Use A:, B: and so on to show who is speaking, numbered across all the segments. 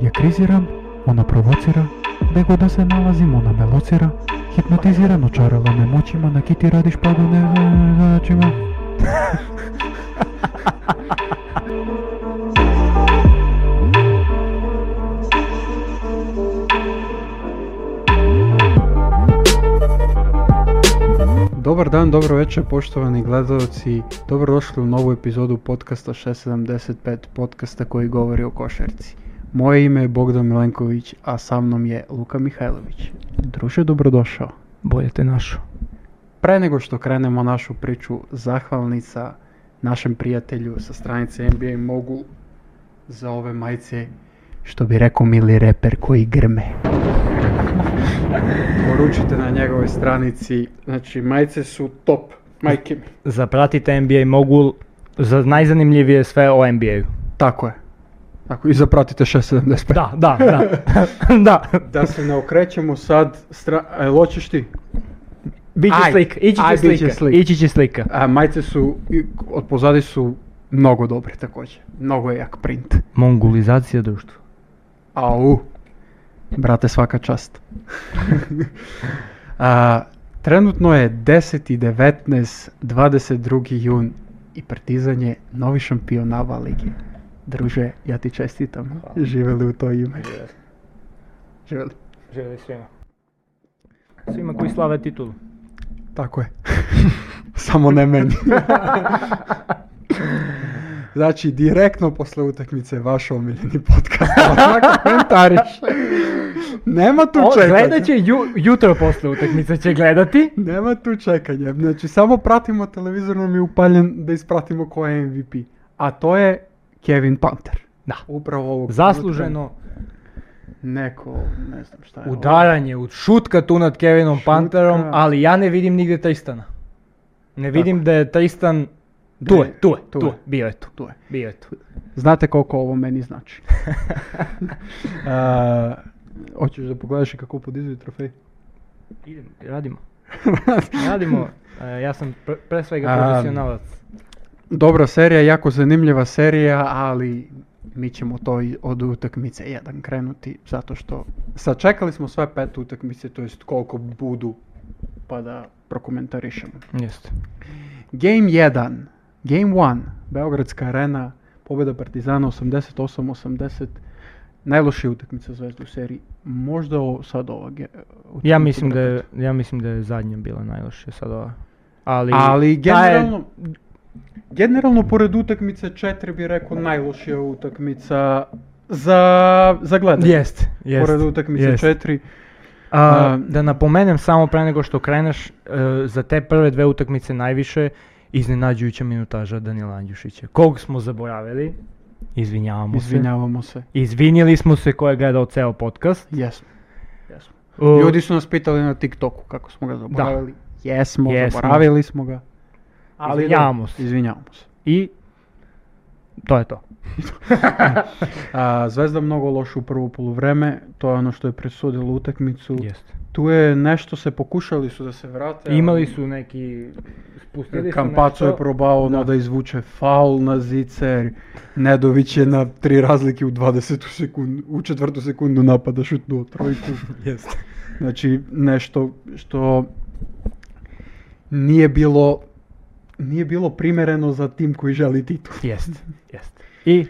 A: електризиран, она провоцира, него да се налазим, она ме лоцира, хипнотизиран, очарала ме мочима, на кити радиш па до не значима. Добар дан, добро вечер, поштовани гледалци. Добродошли у нову епизоду подкаста 675, подкаста кој говори о кошерци. Моје име е Богдан Миленковиќ, а са мном е Лука Михајловиќ. Друже, добродошол.
B: Bolje te našo.
A: Пре него што кренемо нашу причу, захвалница нашем пријателју со страница NBA Mogul за ове мајце, што би реко мили репер кои грме. Поручите на неговој страници, значи мајце су топ, мајке ми.
B: Запратите NBA Mogul за најзанимљивије све о NBA.
A: Тако е. Ако и запратите 675.
B: Да, да, да. да.
A: Да се не окреćemo sad, e, стра... е, лочиш ти?
B: Биќе
A: Ај,
B: слика, иќе
A: ај,
B: ќе
A: биќе
B: слика,
A: слика.
B: иќе ќе слика.
A: А, мајце су, и од позади су многу добри такође. Многу е јак принт.
B: Монголизација друштво.
A: Ау, брате, свака част. а, тренутно е 10 и 19, 22 јун и Партизан е нови шампион на оваа лиги. Друже, ја ти честитам. Живели у тој име. Живели.
B: Живели свима. Свима кои славе титул.
A: Тако е. Само не мени. Значи, директно после утакмице ваш омилени подкаст. Така коментариш. Нема ту
B: О,
A: чекање.
B: гледа ќе ју, јутро после утакмица ќе гледати.
A: Нема ту чекање. Значи, само пратимо телевизорно ми упален да испратимо кој е MVP. А тој е Кевин Пантер.
B: Да.
A: Управо овог
B: Заслужено
A: тренутка. Неко, не знам шта е. ово.
B: ударање од шутка ту над Кевином
A: Шутка.
B: Пантером, али ја не видим нигде Тристана. Не видим да е Тристан
A: Да
B: Ту е, ту е,
A: ту
B: ту
A: е.
B: е, био е ту.
A: Ту е.
B: Био е ту.
A: Знаете колку ово мени значи. А, Очеш да погледаш и како подизви трофеј?
B: Идем, радимо. Радимо. Е, Јас сам пр- пре свега
A: А,
B: професионалец.
A: Добра серија, јако занимљива серија, али ми ќемо тој од утакмице еден кренути, затоа што сачекали смо све пет утакмице, тоест колку буду, па да прокоментаришемо.
B: Јесте.
A: Гейм 1, Гейм 1, Белградска арена, победа Партизана 88-80, најлоши утакмица Звезда у серии. Можда о, сад ова ге- утакмица
B: Ја мислим да е-
A: брат.
B: ја мислим да е задња била најлошија сад ова. Али
A: Али
B: таа е-
A: генерално Генерално поред утакмица 4 би рекол најлошија утакмица за за гледање.
B: Јесте, јесте.
A: поред утакмица
B: јесте.
A: 4.
B: А,
A: А,
B: да напоменем само пре него што кренеш е, за те прве две утакмице највише изненаđуjuća минутажа Данила Анѓушиća. Ког смо заборавили? Извинјавамо се.
A: Извинјавамо се.
B: Извинили смо се кој е гледал цел подкаст.
A: Јесно. Јесно.
B: Е,
A: Луѓе су нас питали на TikToku како смо го заборавили. Јесмо,
B: Јесмо.
A: заборавили смо го. Али да,
B: Извинјавамо се.
A: Извинјавамо се.
B: и тоа е тоа.
A: А, Звезда многу лошо у прво полувреме, тоа е оно што е пресудило утакмицу.
B: Јесте.
A: Ту е нешто се покушали су да се врате.
B: Имали
A: али-
B: су неки спустили
A: Кампацо е пробао да. да извуче фаул на Зицер. Недовиќ е на три разлики у 20 секунд, у четврту секунду напада шутнуо тројку.
B: Јесте.
A: Значи нешто што ние било ние било примерено за тим кој жели титул.
B: Јесте. Јесте. И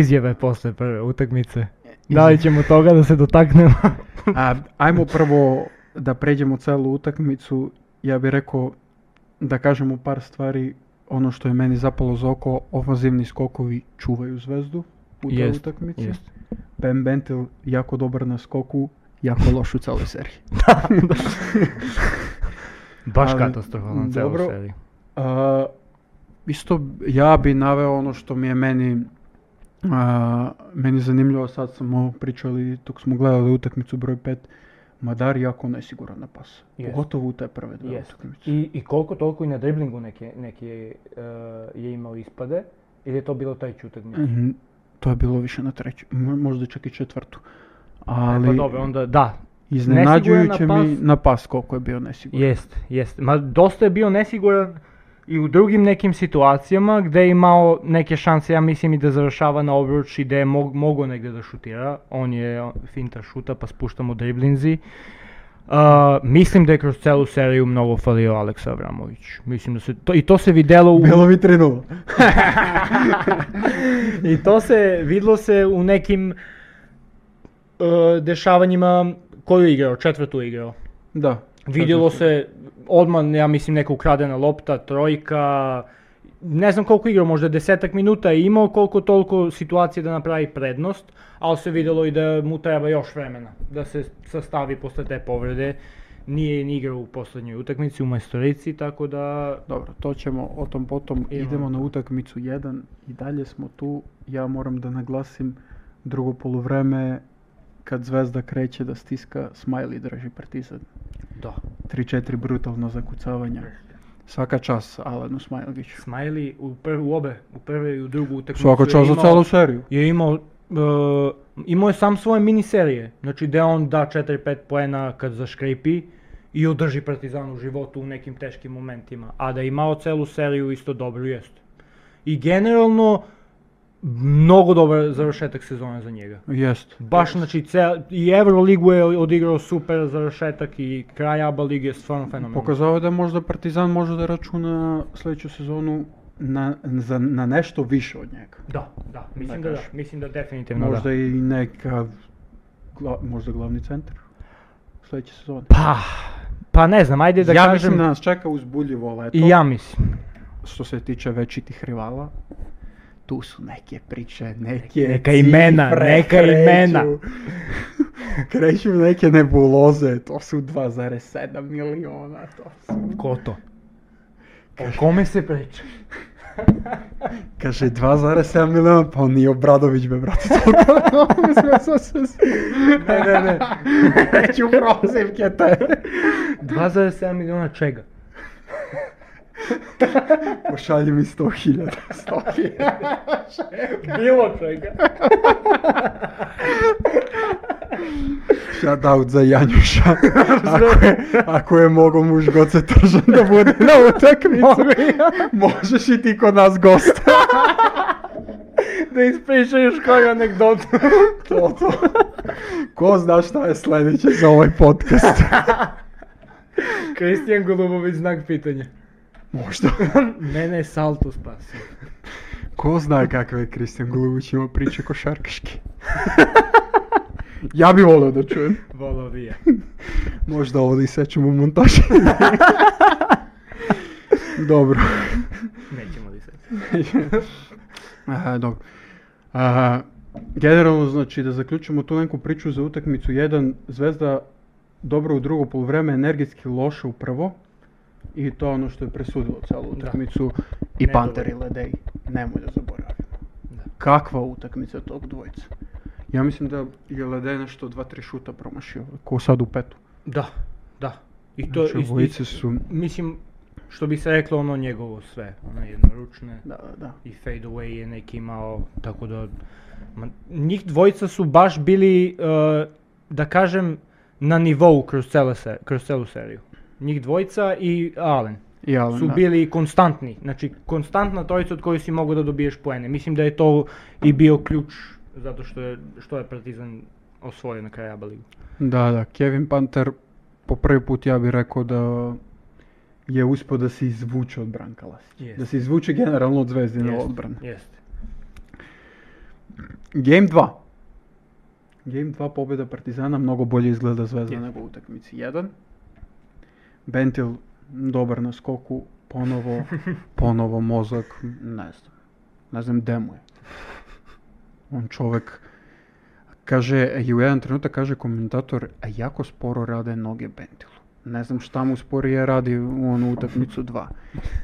B: изјаве после прве утакмице. Дали ќемо тога да се дотакнеме?
A: А ајмо прво да преđемо целу утакмицу, ја би рекол да кажемо пар ствари оно што е мене запало за око, офанзивни скокови чувају звезду у таа утакмица.
B: Јесте.
A: Бен Бентел јако добар на скоку, јако лош у целој серија.
B: Баш
A: Али,
B: катастрофална цела
A: добро.
B: серија.
A: А, исто ја би навел оно што ми е мене а, мене занимљува сад само причали, тук смо гледали утакмицу број 5, Мадар јако несигурен на пас.
B: Јест.
A: Поготово у таа прве две
B: Јест.
A: утакмици.
B: И, и колку толку и на дриблингу неки, неки е, е имал испаде, или е то било тај чутакмица?
A: Мгм, Тоа било више на треќу, м- можда чак и четврту.
B: Али...
A: Али
B: Па добро, онда да,
A: изненаđујуќе
B: несигурен на
A: ми на пас колку е био несигурен.
B: Јесте, јесте. Ма доста е био несигурен и у другим неким ситуацијама где е имао неке шанси, ја мислим и да завршава на обруч и да е мог, могло негде да шутира, он е финта шута па спушта му дриблинзи. А, мислим дека кроз целу серију многу фалио Алекс Аврамовиќ. Мислим да се то, и то се видело у
A: Било ви 3
B: И то се видло се у неким е, дешавањима кој играо, четврто играо.
A: Да.
B: Видело се
A: znači?
B: одма, ја мислим, нека украдена лопта, тројка, не знам колку игра, може десетак минута е имал колку толку ситуација да направи предност, ал се видело и да му треба још времена да се состави после те повреде. Ние не играл у последњој утакмици у мајсторици, така да
A: Dobro, to ćemo o tom potom.
B: Idemo
A: Idemo
B: na
A: na utakmicu 1 i dalje smo tu. Ja moram da naglasim drugo poluvreme kad Zvezda kreće da stiska, Smiley drži Partizan.
B: да.
A: 3-4 brutalno zakucavanja. Svaka čas Alenu Smajlgiću.
B: Смајли у прв у обе, у прве и у другу утакмици.
A: Svaka
B: е
A: čas za
B: имал-
A: celu seriju.
B: Ја имал е, имал е сам своје мини серије. Значи де он да 4-5 поена кад зашкрепи и одржи Партизан у животу у неким тешки моментима, а да имао целу серију исто добро јесте. И генерално многу добар завршетак сезона за njega. znači,
A: Jest.
B: Баш, значи, цел, и Евролигу е одиграл супер завршетак и крај Аба лиги е стварно феноменален.
A: Pokazao je da možda Partizan može da računa sljedeću sezonu na, za, na nešto više od njega.
B: Да, да, мислим
A: Да,
B: да, да,
A: кажеш.
B: мислим да дефинитивно да.
A: Možda i neka, gla- možda glavni centar sljedeće sezone.
B: Па, па не знам, ајде да
A: ja
B: кажем...
A: mislim da nas čeka uzbuljivo leto.
B: И ја мислим.
A: Što se tiče većitih rivala, tu su neke priče, neke
B: Neka imena,
A: cifre
B: neka
A: kreću.
B: imena.
A: kreću neke nebuloze, to su 2,7 miliona, to su...
B: Кото? О коме се прича?
A: Kaže 2,7 miliona, pa on nije Obradović be, brate, toliko. Mislim, ja sam se...
B: Не, не, не.
A: Neću prozivke te.
B: 2,7 милиона чега?
A: Pošalji mi 100.000. 100.000.
B: Било чега.
A: Shoutout za Janjuša. Ako je, ako je mogao muž god se tržan da bude na utakmicu, možeš i ti kod nas gosta.
B: Да испричаш кој анекдот.
A: To, to. Ko zna šta je sljedeće za ovaj podcast?
B: Кристијан Голубовиќ знак питање.
A: Možda.
B: Мене е салто спаси.
A: Ko zna kakve je Kristijan Golubić ima priče košarkaške? Ja bi volio da čujem.
B: Воло вие.
A: Možda ovo da isečemo u montaži. Dobro.
B: Неќемо ли се.
A: Aha, dobro. A, generalno, znači, da zaključimo tu neku priču za utakmicu 1, Zvezda dobro u drugo poluvreme, energetski loše u prvo. I to je ono što je presudilo celu utakmicu. I
B: Nedovoljno.
A: Panter i Ledej, nemoj da zaboravimo. Kakva utakmica tog dvojica. Ja mislim da je Ledej nešto 2-3 šuta promašio, ko sad u petu.
B: Да, да. И то
A: Znači,
B: и-
A: obojice
B: и-
A: su...
B: Мислим, што би се рекло оно негово све, оно едноручне.
A: Da, da, da.
B: и Fade Away е неки имао, тако да... Ма, них двојца су баш били, е, да кажем, на нивоу кроз, цела се, кроз целу серију. Них двојца и Ален
A: I Alen,
B: су
A: da.
B: били константни. Значи, константна тројца од кој си могу да добиеш поене. Мислим да е то и био клјуч затоа што е, што е Партизан освојен на крај Аба лигу.
A: Da, da, Kevin Panter po prvi put ja bih rekao da je uspio da se izvuče od Branka Lasića.
B: Jest.
A: Da se izvuče generalno od Zvezdine
B: Jeste,
A: odbrane.
B: Jeste.
A: Game 2. Game 2 pobjeda Partizana mnogo bolje izgleda Zvezda
B: Jest.
A: nego u utakmici 1. Bentil dobar na skoku, ponovo, ponovo mozak, ne znam. Ne znam gde mu je. On čovek kaže, i u jedan trenutak kaže komentator, a jako sporo rade noge Bentilu. Ne znam šta mu sporije radi u onu utakmicu 2.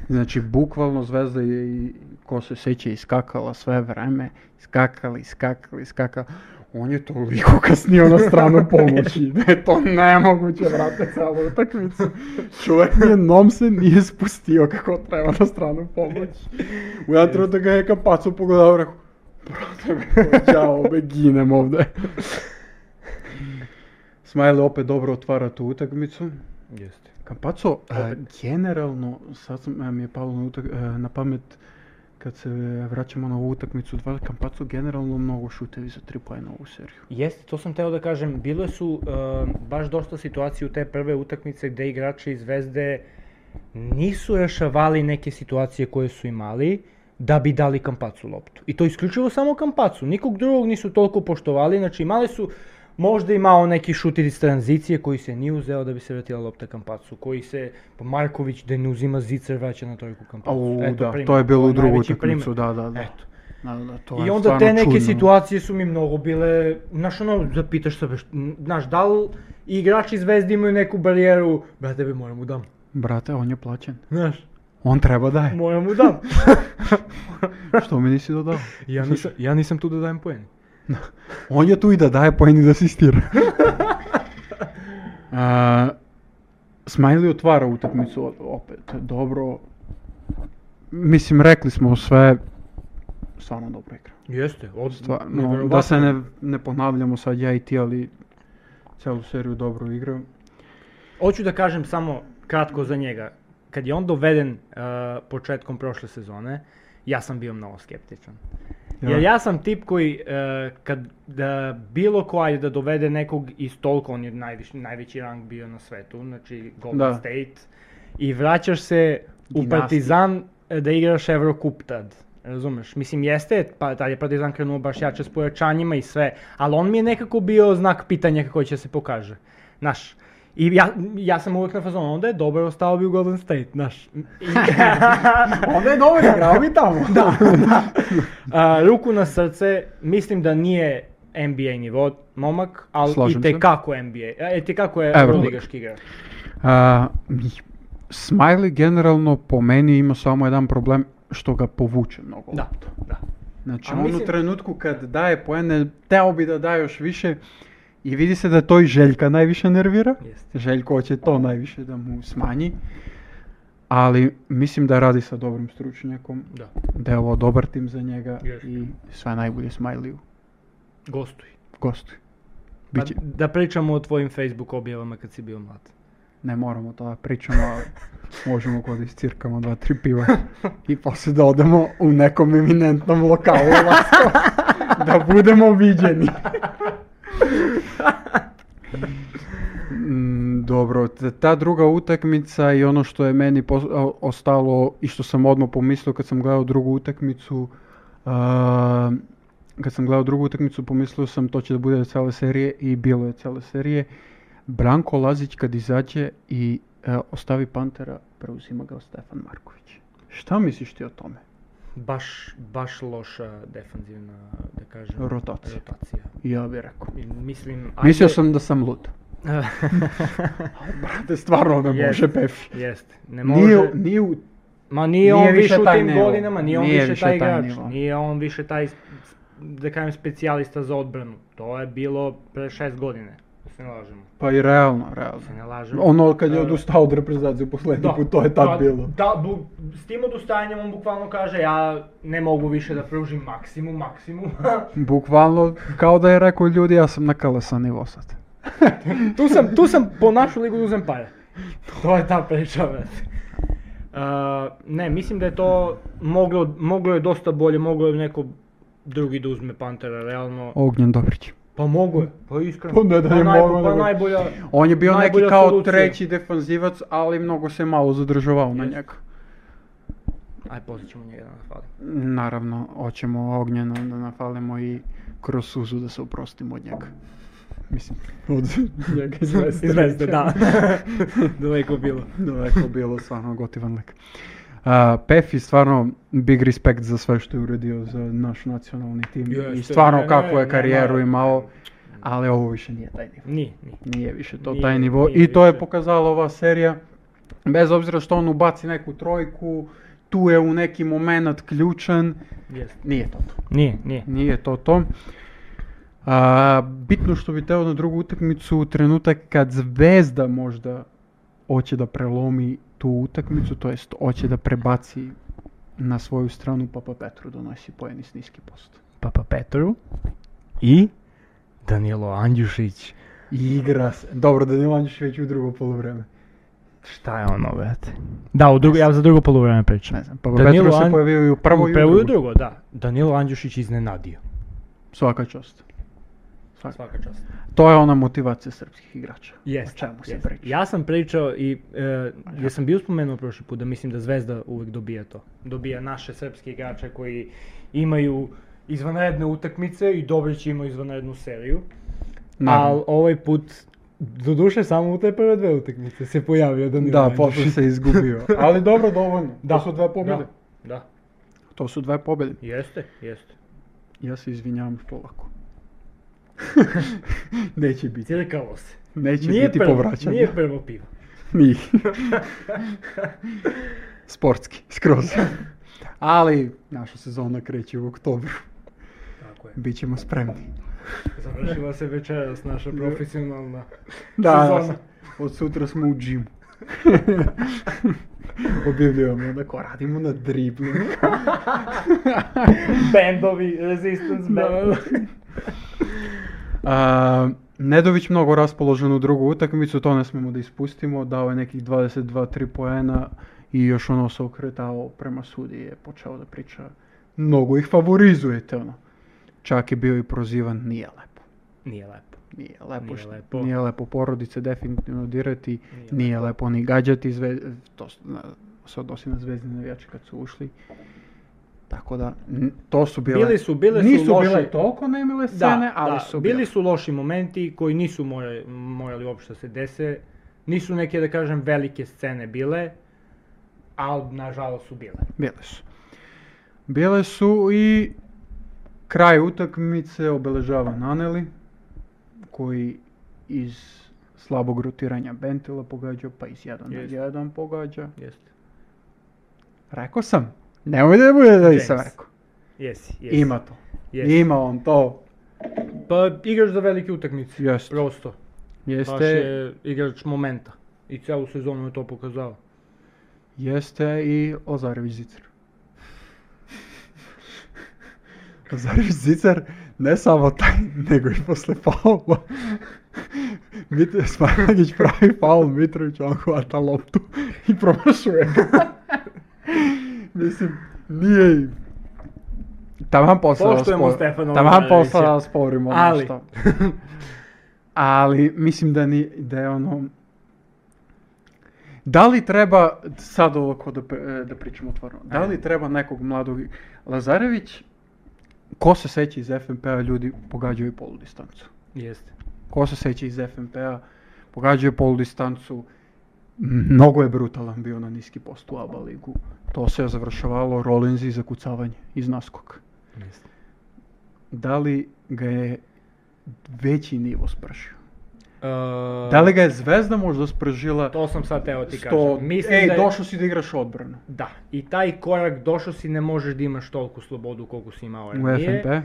A: Znači, bukvalno Zvezda je, i, ko se seća, iskakala sve vreme, iskakala, iskakala, iskakala. On je toliko kasnio na stranu pomoći, da je to nemoguće, vrate, celu utakmicu. Čovjek je nom se nije spustio kako treba na stranu pomoći. U jedan trenutak ga je neka pacu pogledao i rekao, brate, me, čao, me ginem ovde. Smajle opet dobro otvara tu utakmicu.
B: Jeste.
A: Капацо, а,
B: Опет.
A: генерално, сад сам, а, ми е пало на, утак, а, на памет, кад се враќаме на ову утакмицу два, Капацо генерално многу шутеви за три поена ову серију.
B: Jeste, to sam teo da kažem, bile su e, baš dosta situacija u te prve utakmice gde igrači iz Zvezde nisu rešavali neke situacije koje su imali da bi dali Kampacu loptu. I to isključivo samo Kampacu, nikog drugog nisu toliko poštovali, znači imali su možda imao neki šutir iz tranzicije koji se nije uzeo da bi se vratila lopta Kampacu, koji se pa Marković da ne uzima zicer vraća na trojku Kampacu.
A: Au,
B: Pa, Eto,
A: da,
B: primer,
A: to je bilo
B: je
A: u drugu
B: najveći
A: utakmicu,
B: primer.
A: da, da, da.
B: Eto.
A: Da, da, to
B: I
A: je
B: onda te
A: stvarno
B: neke
A: čudno.
B: situacije su mi mnogo bile, znaš ono, da pitaš sebe, št- n- znaš, da li igrači Zvezde imaju neku barijeru, brate bi moram mu dam,
A: Брате, он е плачен.
B: znaš,
A: Он треба да е.
B: moram mu dam.
A: Што ми не си додал?
B: ja, nisam, ja nisam tu da dajem poen.
A: Он е ту и да дае поени да асистира. А, Смајли отвара утакмицу о- опет. Добро. Mislim, rekli smo sve, stvarno dobro igra.
B: Jeste, od,
A: Stvarno,
B: nevjerovatno.
A: da se ne, ne ponavljamo sad ja i ti, ali celu seriju dobro igra.
B: Hoću da kažem samo kratko za njega. Kad je on doveden uh, početkom prošle sezone, ja sam bio mnogo skeptičan.
A: Ja.
B: Jer ja sam tip koji uh, kad da bilo ko ajde da dovede nekog iz toliko, on je najviši, najveći rang bio na svetu, znači Golden
A: Da.
B: State, i vraćaš se u
A: Dinastija.
B: Partizan e, da igraš Eurocup tad. Razumeš? Mislim, jeste, pa tad je Partizan krenuo baš jače s pojačanjima i sve, ali on mi je nekako bio znak pitanja kako će se pokaže. Znaš, I ja, ja sam uvijek na fazonu, onda je dobar ostao bi u Golden State, znaš. eh, I-
A: Onda je dobro igrao mi tamo. da.
B: A, ruku na srce, mislim da nije NBA nivo momak, ali
A: Slažem
B: i
A: se.
B: tekako NBA, e, tekako je
A: Evo.
B: Euroligaški igrač.
A: A, Smiley generalno po meni ima samo jedan problem što ga povuče mnogo.
B: Da, da.
A: Znači,
B: A
A: on u
B: mislim-
A: trenutku kad daje poene, teo bi da daje još više i vidi se da to i Željka najviše nervira.
B: Jeste.
A: Željko hoće to najviše da mu smanji. Ali mislim da radi sa dobrim stručnjakom,
B: Da.
A: da je ovo dobar tim za njega
B: Jeste.
A: i sve najbolje Smiley-u.
B: Gostuj.
A: Gostuj.
B: Pa,
A: Biće,
B: da pričamo o tvojim Facebook objavama kad si bio mlad.
A: ne moramo to da pričamo, ali možemo kod iscirkamo dva, tri piva i poslije da odemo u nekom eminentnom lokalu u Lasko, da budemo viđeni. Mm, Dobro, t- ta druga utakmica i ono što je meni pos- o- ostalo i što sam odmah pomislio kad sam gledao drugu utakmicu, a, kad sam gledao drugu utakmicu pomislio sam to će da bude cele serije i bilo je cele serije. Branko Lazić kad izađe i e, ostavi Pantera, preuzima ga Stefan Marković. Šta misliš ti o tome?
B: Baš, baš loša defanzivna, da kažem,
A: Rotacija.
B: rotacija.
A: Ja bih rekao.
B: I Mislim,
A: Mislio
B: ajde-
A: sam da sam lud. Brate, stvarno ne
B: Jest.
A: može Pefi.
B: Jeste, ne može.
A: Nije, nije u-
B: Ma nije,
A: Nije
B: on
A: više
B: više u
A: taj
B: tim
A: nivo.
B: godinama, nije on
A: Nije
B: više
A: više
B: taj
A: taj
B: igrač,
A: nivo.
B: nije on više taj, s- s- da kažem, specijalista za odbranu. To je bilo pre šest godine, da se ne lažemo,
A: Pa i realno,
B: da se
A: realno.
B: ne lažemo.
A: Ono kad je
B: E,
A: odustao od reprezentacije poslednji
B: da,
A: put, to je tad
B: da,
A: bilo.
B: Da, bu, s tim odustajanjem on bukvalno kaže, ja ne mogu više da pružim maksimum, maksimum.
A: Bukvalno kao da je rekao ljudi, ja sam na kalasan nivo sad.
B: tu sam, tu sam po našu ligu uzem pare. To je ta priča, brate. A, ne, mislim da je to moglo, moglo je dosta bolje, moglo je neko drugi da uzme Pantera, realno.
A: Ognjen Dobrić.
B: Pa mogu je, pa iskreno.
A: Pa ne, da je
B: najbo-
A: moglo,
B: pa
A: nego-
B: najbolja,
A: On je bio
B: Najbolja
A: neki kao
B: solucija.
A: treći defanzivac, ali mnogo se malo zadržavao na
B: Jest.
A: njega.
B: aj pozit ćemo njega da nas fali.
A: Naravno, hoćemo ognjeno da nafalimo i kroz suzu da se oprostimo od njega. Mislim, od njega iz Vestre.
B: Izvezde, da. Daleko bilo.
A: Daleko bilo, stvarno gotivan lik. A, Pefi, stvarno, big respect za sve što je uradio za naš nacionalni tim. I
B: Jeste,
A: stvarno
B: ne, ne,
A: kakvu je
B: ne,
A: karijeru
B: naravno.
A: imao, ali ovo više nije taj nivo.
B: Nije, nije.
A: Nije više to
B: Nije,
A: taj nivo.
B: nije
A: I to je
B: više.
A: pokazala ova serija. Bez obzira što on ubaci neku trojku, tu je u neki moment ključan.
B: Jeste.
A: Nije to to.
B: Nije, nije.
A: Nije to to. A, bitno što bi teo na drugu utakmicu, trenutak kad Zvezda možda hoće da prelomi tu utakmicu, to jest hoće da prebaci na svoju stranu Papa Petru donosi poeni s niski post.
B: Papa Petru i Danilo Andjušić.
A: I igra se. Dobro, da ne već u drugo polovreme.
B: Šta je ono, brate? Da, у друго, ја за друго полувреме
A: Ne
B: pričam.
A: znam, pa Petro se
B: Ан-
A: pojavio i u prvo i u
B: Prvo
A: drugo.
B: i drugo, da. Danilo Andjušić iznenadiо.
A: Svaka čast. Svaka.
B: Svaka čast.
A: To je ona motivacija srpskih igrača.
B: Jeste.
A: O čemu se
B: jeste.
A: priča?
B: Ja sam pričao i e, ja sam bio spomenuo prošli put da mislim da Zvezda uvek dobija to. Dobija naše srpske igrače koji imaju izvanredne utakmice i Dobrić ima izvanrednu seriju.
A: Naravno.
B: Ali ovaj put, doduše samo u te prve dve utakmice se pojavio Danilo
A: Da,
B: Andjušić.
A: posle se izgubio. Ali dobro, dovoljno.
B: Da.
A: To su dve pobjede.
B: Da, da,
A: To su dve pobjede.
B: jeste, jeste.
A: Ja se izvinjavam što ovako. Neće biti.
B: Cirkalo se.
A: Neće
B: Nije
A: biti
B: prvo,
A: povraćanja.
B: nije prvo pivo.
A: Ni. Sportski, skroz. Ali naša sezona kreće u oktobru.
B: Tako je.
A: Bićemo spremni.
B: Završila se večeras naša profesionalna
A: Da,
B: sezona.
A: od sutra smo u džimu. Objavljujemo da ko radimo na driblingu.
B: Bendovi, Resistance Band.
A: A, Nedović mnogo raspoložen u drugu utakmicu, to ne smemo da ispustimo, dao je nekih 22-3 poena i još ono se okretao prema sudi je počeo da priča mnogo ih favorizujete ono. Čak je bio i prozivan, nije lepo.
B: Nije lepo.
A: Nije lepo,
B: Nije
A: što-
B: lepo.
A: nije lepo porodice definitivno dirati,
B: Nije
A: nije, lepo. ni gađati, zve, to s- na- se odnosi na zvezdine navijače kad su ušli. Tako da, n- to su bile...
B: Bili su- bile su
A: Nisu
B: loše-
A: bile toliko nemile scene, ali su bile.
B: bili su loši momenti koji nisu morali, morali uopšte da se dese. Nisu neke, da kažem, velike scene bile, ali nažalost su bile.
A: Bile su. Bile su i kraj utakmice obeležava Naneli, koji iz slabog rotiranja Bentila pogađa, pa iz jedan na
B: Jeste.
A: jedan pogađa.
B: Jeste.
A: Rekao sam, nemoj da bude da nisam
B: James.
A: rekao.
B: Jesi, jesi.
A: Ima to.
B: Jest.
A: Ima on to.
B: Pa igraš za velike utakmice.
A: Jeste.
B: Prosto. Baš
A: Jeste,
B: je igrač momenta. I celu sezonu je to pokazao.
A: jeste i Lazarević Zicar. Lazarević Zicar ne samo taj, nego i posle faula. Mit- Smajlagić pravi faul, Mitrović on hvata loptu i promašuje ga. Mislim, nije... Taman posao da
B: Poštujemo
A: spor-
B: Stefana
A: Taman
B: Lazarevića.
A: posao da sporimo ono
B: Ali.
A: što. Ali mislim da, ni, da je ono... Da li treba, sad ovako da, pe- da pričamo otvoreno, da li treba nekog mladog Lazarević, ko se seća iz FNP-a ljudi pogađaju polu distancu.
B: Jeste.
A: Ko se seća iz FNP-a pogađaju polu distancu, mnogo je brutalan bio na niski post u ABA ligu. To se je završavalo rolinzi za kucavanje iz naskoka.
B: Jeste.
A: Da li ga je veći nivo spršio? Da li ga je Zvezda možda spržila?
B: E, To sam sad teo ti
A: Sto...
B: kažem. Mislim
A: Ej,
B: da je-
A: došao si da igraš odbranu.
B: Da, i taj korak došao si, ne možeš da imaš toliku slobodu koliko si imao
A: U
B: ranije.
A: FNP?
B: E,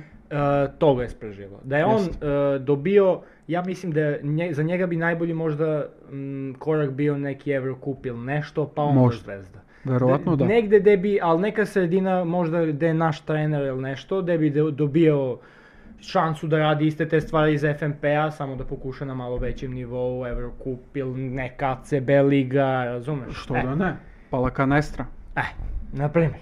B: to ga je spržilo. Da je on
A: Jeste.
B: e, dobio, ja mislim da je nje- za njega bi najbolji možda mm, korak bio neki Eurocup ili nešto, pa onda
A: Možda.
B: Zvezda.
A: Verovatno da.
B: Negde gde bi, ali neka sredina možda gde je naš trener ili nešto, gde bi de- dobio šansu da radi iste te stvari iz FNP-a, samo da pokuša na malo većem nivou, Eurocup ili neka CB liga, razumeš?
A: Što
B: E,
A: da ne? Palakanestra.
B: E, na primjer.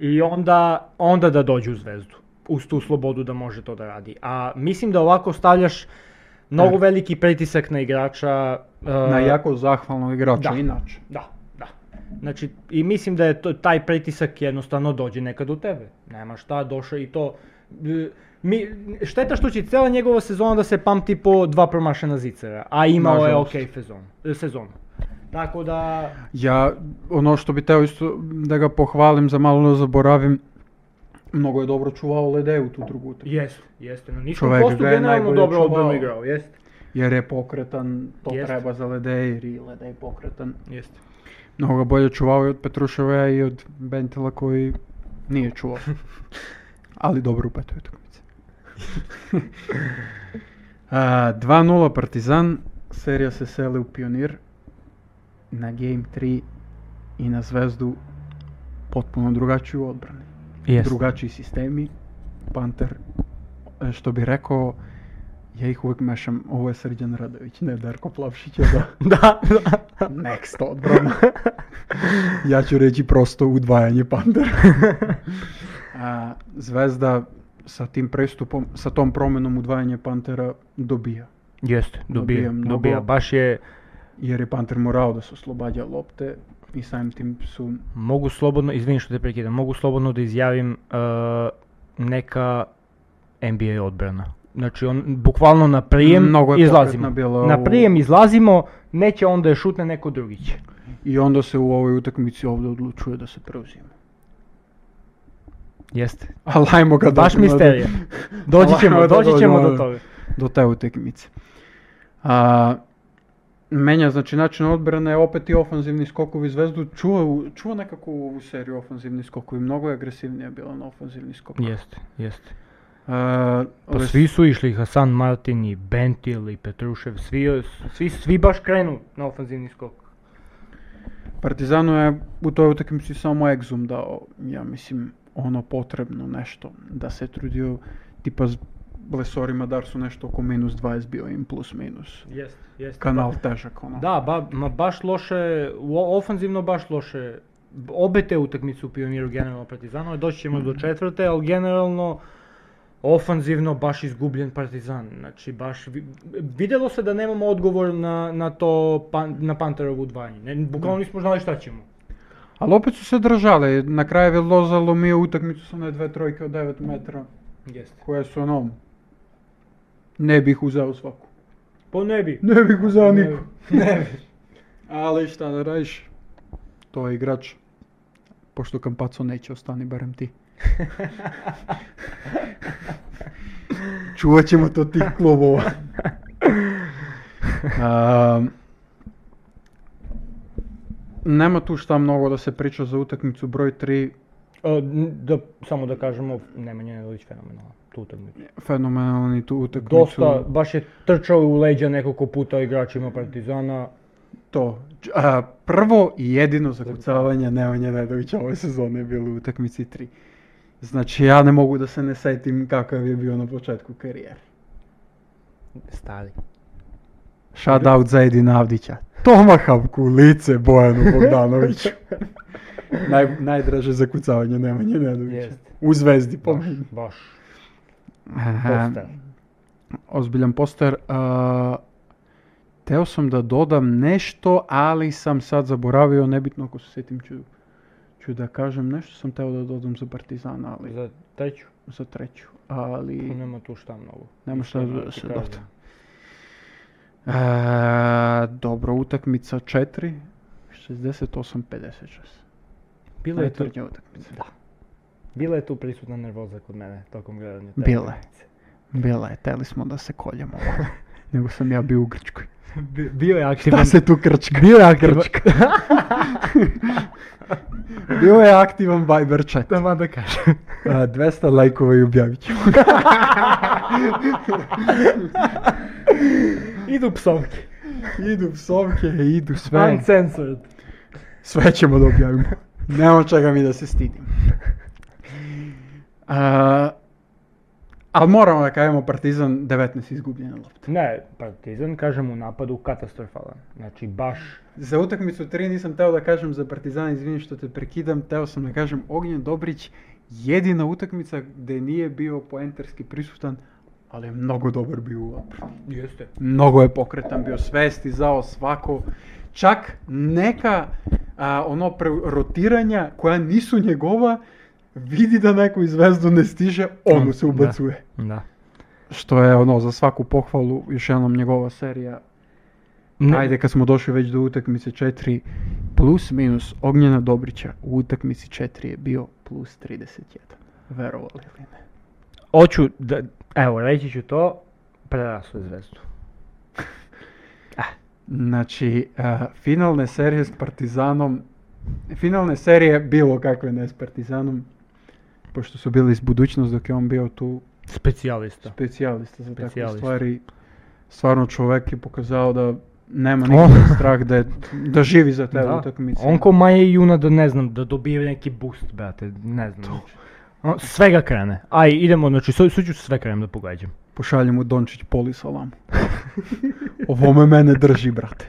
B: I onda, onda da dođe u zvezdu. Uz tu slobodu da može to da radi. A mislim da ovako stavljaš mnogo
A: Tak.
B: veliki pritisak na igrača. e,
A: Na jako zahvalnog igrača,
B: da.
A: inače.
B: Da, da. Znači, i mislim da je to, taj pritisak jednostavno dođe nekad u tebe. Nema šta, došao i to... e, Mi, šteta što će cijela njegova sezona da se pamti po dva promašena zicera, a imao
A: Nažalost.
B: je ok sezon, sezonu. Tako da,
A: Ja, ono što bi teo isto da ga pohvalim, za malo ne zaboravim, mnogo je dobro čuvao Ledeju tu drugu utakmicu.
B: Jeste, jeste. Na niškom
A: Čovek
B: postu
A: ga je
B: generalno
A: najbolje
B: dobro
A: čuvao.
B: odbranu igrao, jeste.
A: Jer je pokretan, to
B: Jeste.
A: treba za Ledej, jer i Ledej je pokretan.
B: Jeste.
A: Mnogo ga bolje čuvao i od Petruševa i od Bentela koji nije čuvao. Ali dobro u petoj utakmici. A, 2-0 Partizan, serija se seli u Pionir, na Game 3 i na Zvezdu potpuno drugačiji u odbrani. Drugačiji sistemi, Panter, e, što bi rekao Ja ih uvek mešam, ovo je Srđan Radović, ne Darko Plavšić, a da.
B: da, da.
A: Next odbrana. ja ću reći prosto udvajanje Pandera. a, zvezda sa tim prestupom, sa tom promenom udvajanje Pantera dobija.
B: Jeste,
A: Dobija
B: dobija,
A: mnogo.
B: dobija, baš je,
A: Jer je Panter morao da se oslobađa lopte i samim tim su...
B: Mogu slobodno, izvini što te prekidam, mogu slobodno da izjavim e, neka NBA odbrana. Znači, on bukvalno na prijem
A: Mnogo je
B: izlazimo.
A: pokretna bila u-
B: Na prijem izlazimo, neće onda je šutne neko drugi će.
A: I onda se u ovoj utakmici ovdje odlučuje da se preuzima.
B: Jeste.
A: Ali ajmo ga
B: Baš
A: dođemo do-
B: misterija. Doći
A: Lajmo
B: ćemo,
A: da
B: doći ćemo
A: dođemo,
B: do toga.
A: do te utakmice. A, menja znači način odbrane, opet i ofanzivni skokovi zvezdu, čuva, u- čuva nekako ovu seriju ofanzivni skokovi, mnogo je agresivnija bila na ofanzivni skok.
B: Jeste, jeste.
A: A,
B: Pa
A: Res-
B: svi su išli, Hasan Martin i Bentil i Petrušev, svi, eh, svi, svi baš krenu na ofanzivni skok.
A: Partizanu je u toj utakmici samo Exum dao, ja mislim, ono potrebno nešto, da se trudio tipa s blesorima Darsu nešto oko minus 20 bio im plus minus.
B: Jeste, jeste.
A: Kanal težak ono.
B: Da, ba, ma baš loše, u- ofanzivno baš loše. B- Obe te utakmice u Pioniru generalno Partizanu, doći ćemo do četvrte, ali generalno ofanzivno baš izgubljen Partizan. Znači baš vi- videlo se da nemamo odgovor na, na to pan- na Panterovu udvajanje. Ne, bukvalno nismo znali šta ćemo.
A: Ali opet su se držale, na kraju je Loza lomio utakmicu sa one dve trojke od 9 metra.
B: Jeste.
A: koje su ono, ne bih uzeo svaku.
B: Po ne bi.
A: Ne bih uzeo
B: Ne
A: niku.
B: bi. Ne bi.
A: Ali šta da radiš, to je igrač. Pošto Kampaco neće, ostani barem ti. Čuvat ćemo to tih klubova. Am, nema tu šta mnogo da se priča za utakmicu broj 3.
B: O, n- da, samo da kažemo, Nemanja Nedović fenomenalan tu utakmicu.
A: Fenomenalni tu utakmicu.
B: Dosta, baš je trčao u leđa nekoliko puta igračima Partizana.
A: To. Č- A, prvo i jedino zakucavanje Nemanja Nedovića ove sezone je bilo u utakmici 3. Znači ja ne mogu da se ne setim kakav je bio na početku karijere.
B: Stari.
A: Shout out za Edina Avdića. Tomahawk u lice Bojanu Bogdanoviću. Naj, najdraže zakucavanje Nemanje Nedovića.
B: Jeste.
A: U zvezdi po
B: Baš,
A: meni.
B: baš.
A: Aha,
B: Dosta.
A: Ozbiljan poster. A, teo sam da dodam nešto, ali sam sad zaboravio, nebitno ako se sjetim ću, ću da kažem nešto, sam teo da dodam za Partizan, ali
B: Za treću,
A: za treću. Ali
B: nema tu šta mnogo.
A: nema šta
B: Iskreno
A: da
B: ti
A: se
B: kažem.
A: doda. E, dobro, utakmica 4, 68-56.
B: Bila je, tu,
A: Najtvrđa utakmica.
B: Da. bila je tu prisutna nervoza kod mene tokom gledanja. te
A: Bila je.
B: utakmice.
A: Bila je, teli smo da se koljemo. Nego sam ja bio u Grčkoj.
B: Bi- Bio je aktivan.
A: Da se tu krčka. Bio je aktivan. bio je aktivan Viber chat.
B: Taman da kažem.
A: A, 200 lajkova i objavit ćemo.
B: Idu psovke.
A: idu psovke, idu sve.
B: Uncensored.
A: Sve ćemo da objavimo. Nema čega mi da se stidim. A, ali moramo da kažemo Partizan 19 izgubljene lopte.
B: Ne, Partizan, kažem, u napadu katastrofalan. Znači, baš
A: Za utakmicu 3 nisam teo da kažem za Partizan, izvini što te prekidam, teo sam da kažem Ognjen Dobrić jedina utakmica gdje nije bio poenterski prisutan, ali je mnogo dobar bio u odbrani.
B: Jeste.
A: mnogo je pokretan bio, sve je stizao svako, čak neka a, ono pre- rotiranja koja nisu njegova, vidi da neku zvezdu ne stiže, on mu se ubacuje.
B: Da.
A: Što je ono za svaku pohvalu, još jednom njegova serija.
B: Ne,
A: Ajde kad smo došli već do utakmice 4, plus minus Ognjena Dobrića u utakmici 4 je bio plus 31. Verovali li ne?
B: Hoću, da, evo, reći ću to, prerasu je zvezdu.
A: Znači, a, finalne serije s Partizanom, finalne serije bilo kakve ne s Partizanom, pošto su bili s budućnost dok je on bio tu
B: Specijalista.
A: specijalista za takve
B: Specijalista.
A: stvari. Stvarno čovek je pokazao da nema
B: On-
A: nikakav strah da, je, da živi za te utakmice.
B: On ko Maja i Juna da ne znam, da dobije neki boost, brate, ne znam. znači. О, Свега крене. Ај, идемо, значи, со, со, све кренем да погаѓам.
A: Пошаље му Дончиć полис овам. Ово ме мене држи, брате.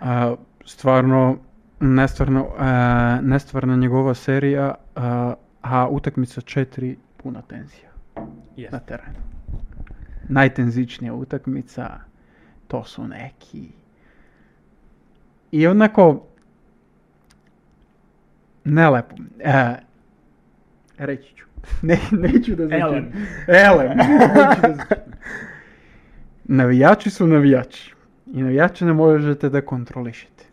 A: а, стварно, нестварно, а, нестварна njegova серија, а, а утакмица 4 пуна тензија
B: Yes.
A: на терену. Најтензичнија утакмица, то су неки. И однако, нелепо. Е, речи e, ću. Не, неću да звучи.
B: Елем.
A: Елем. Неću да звучи. Навијачи су навијачи. И навијачи не можете да контролишете.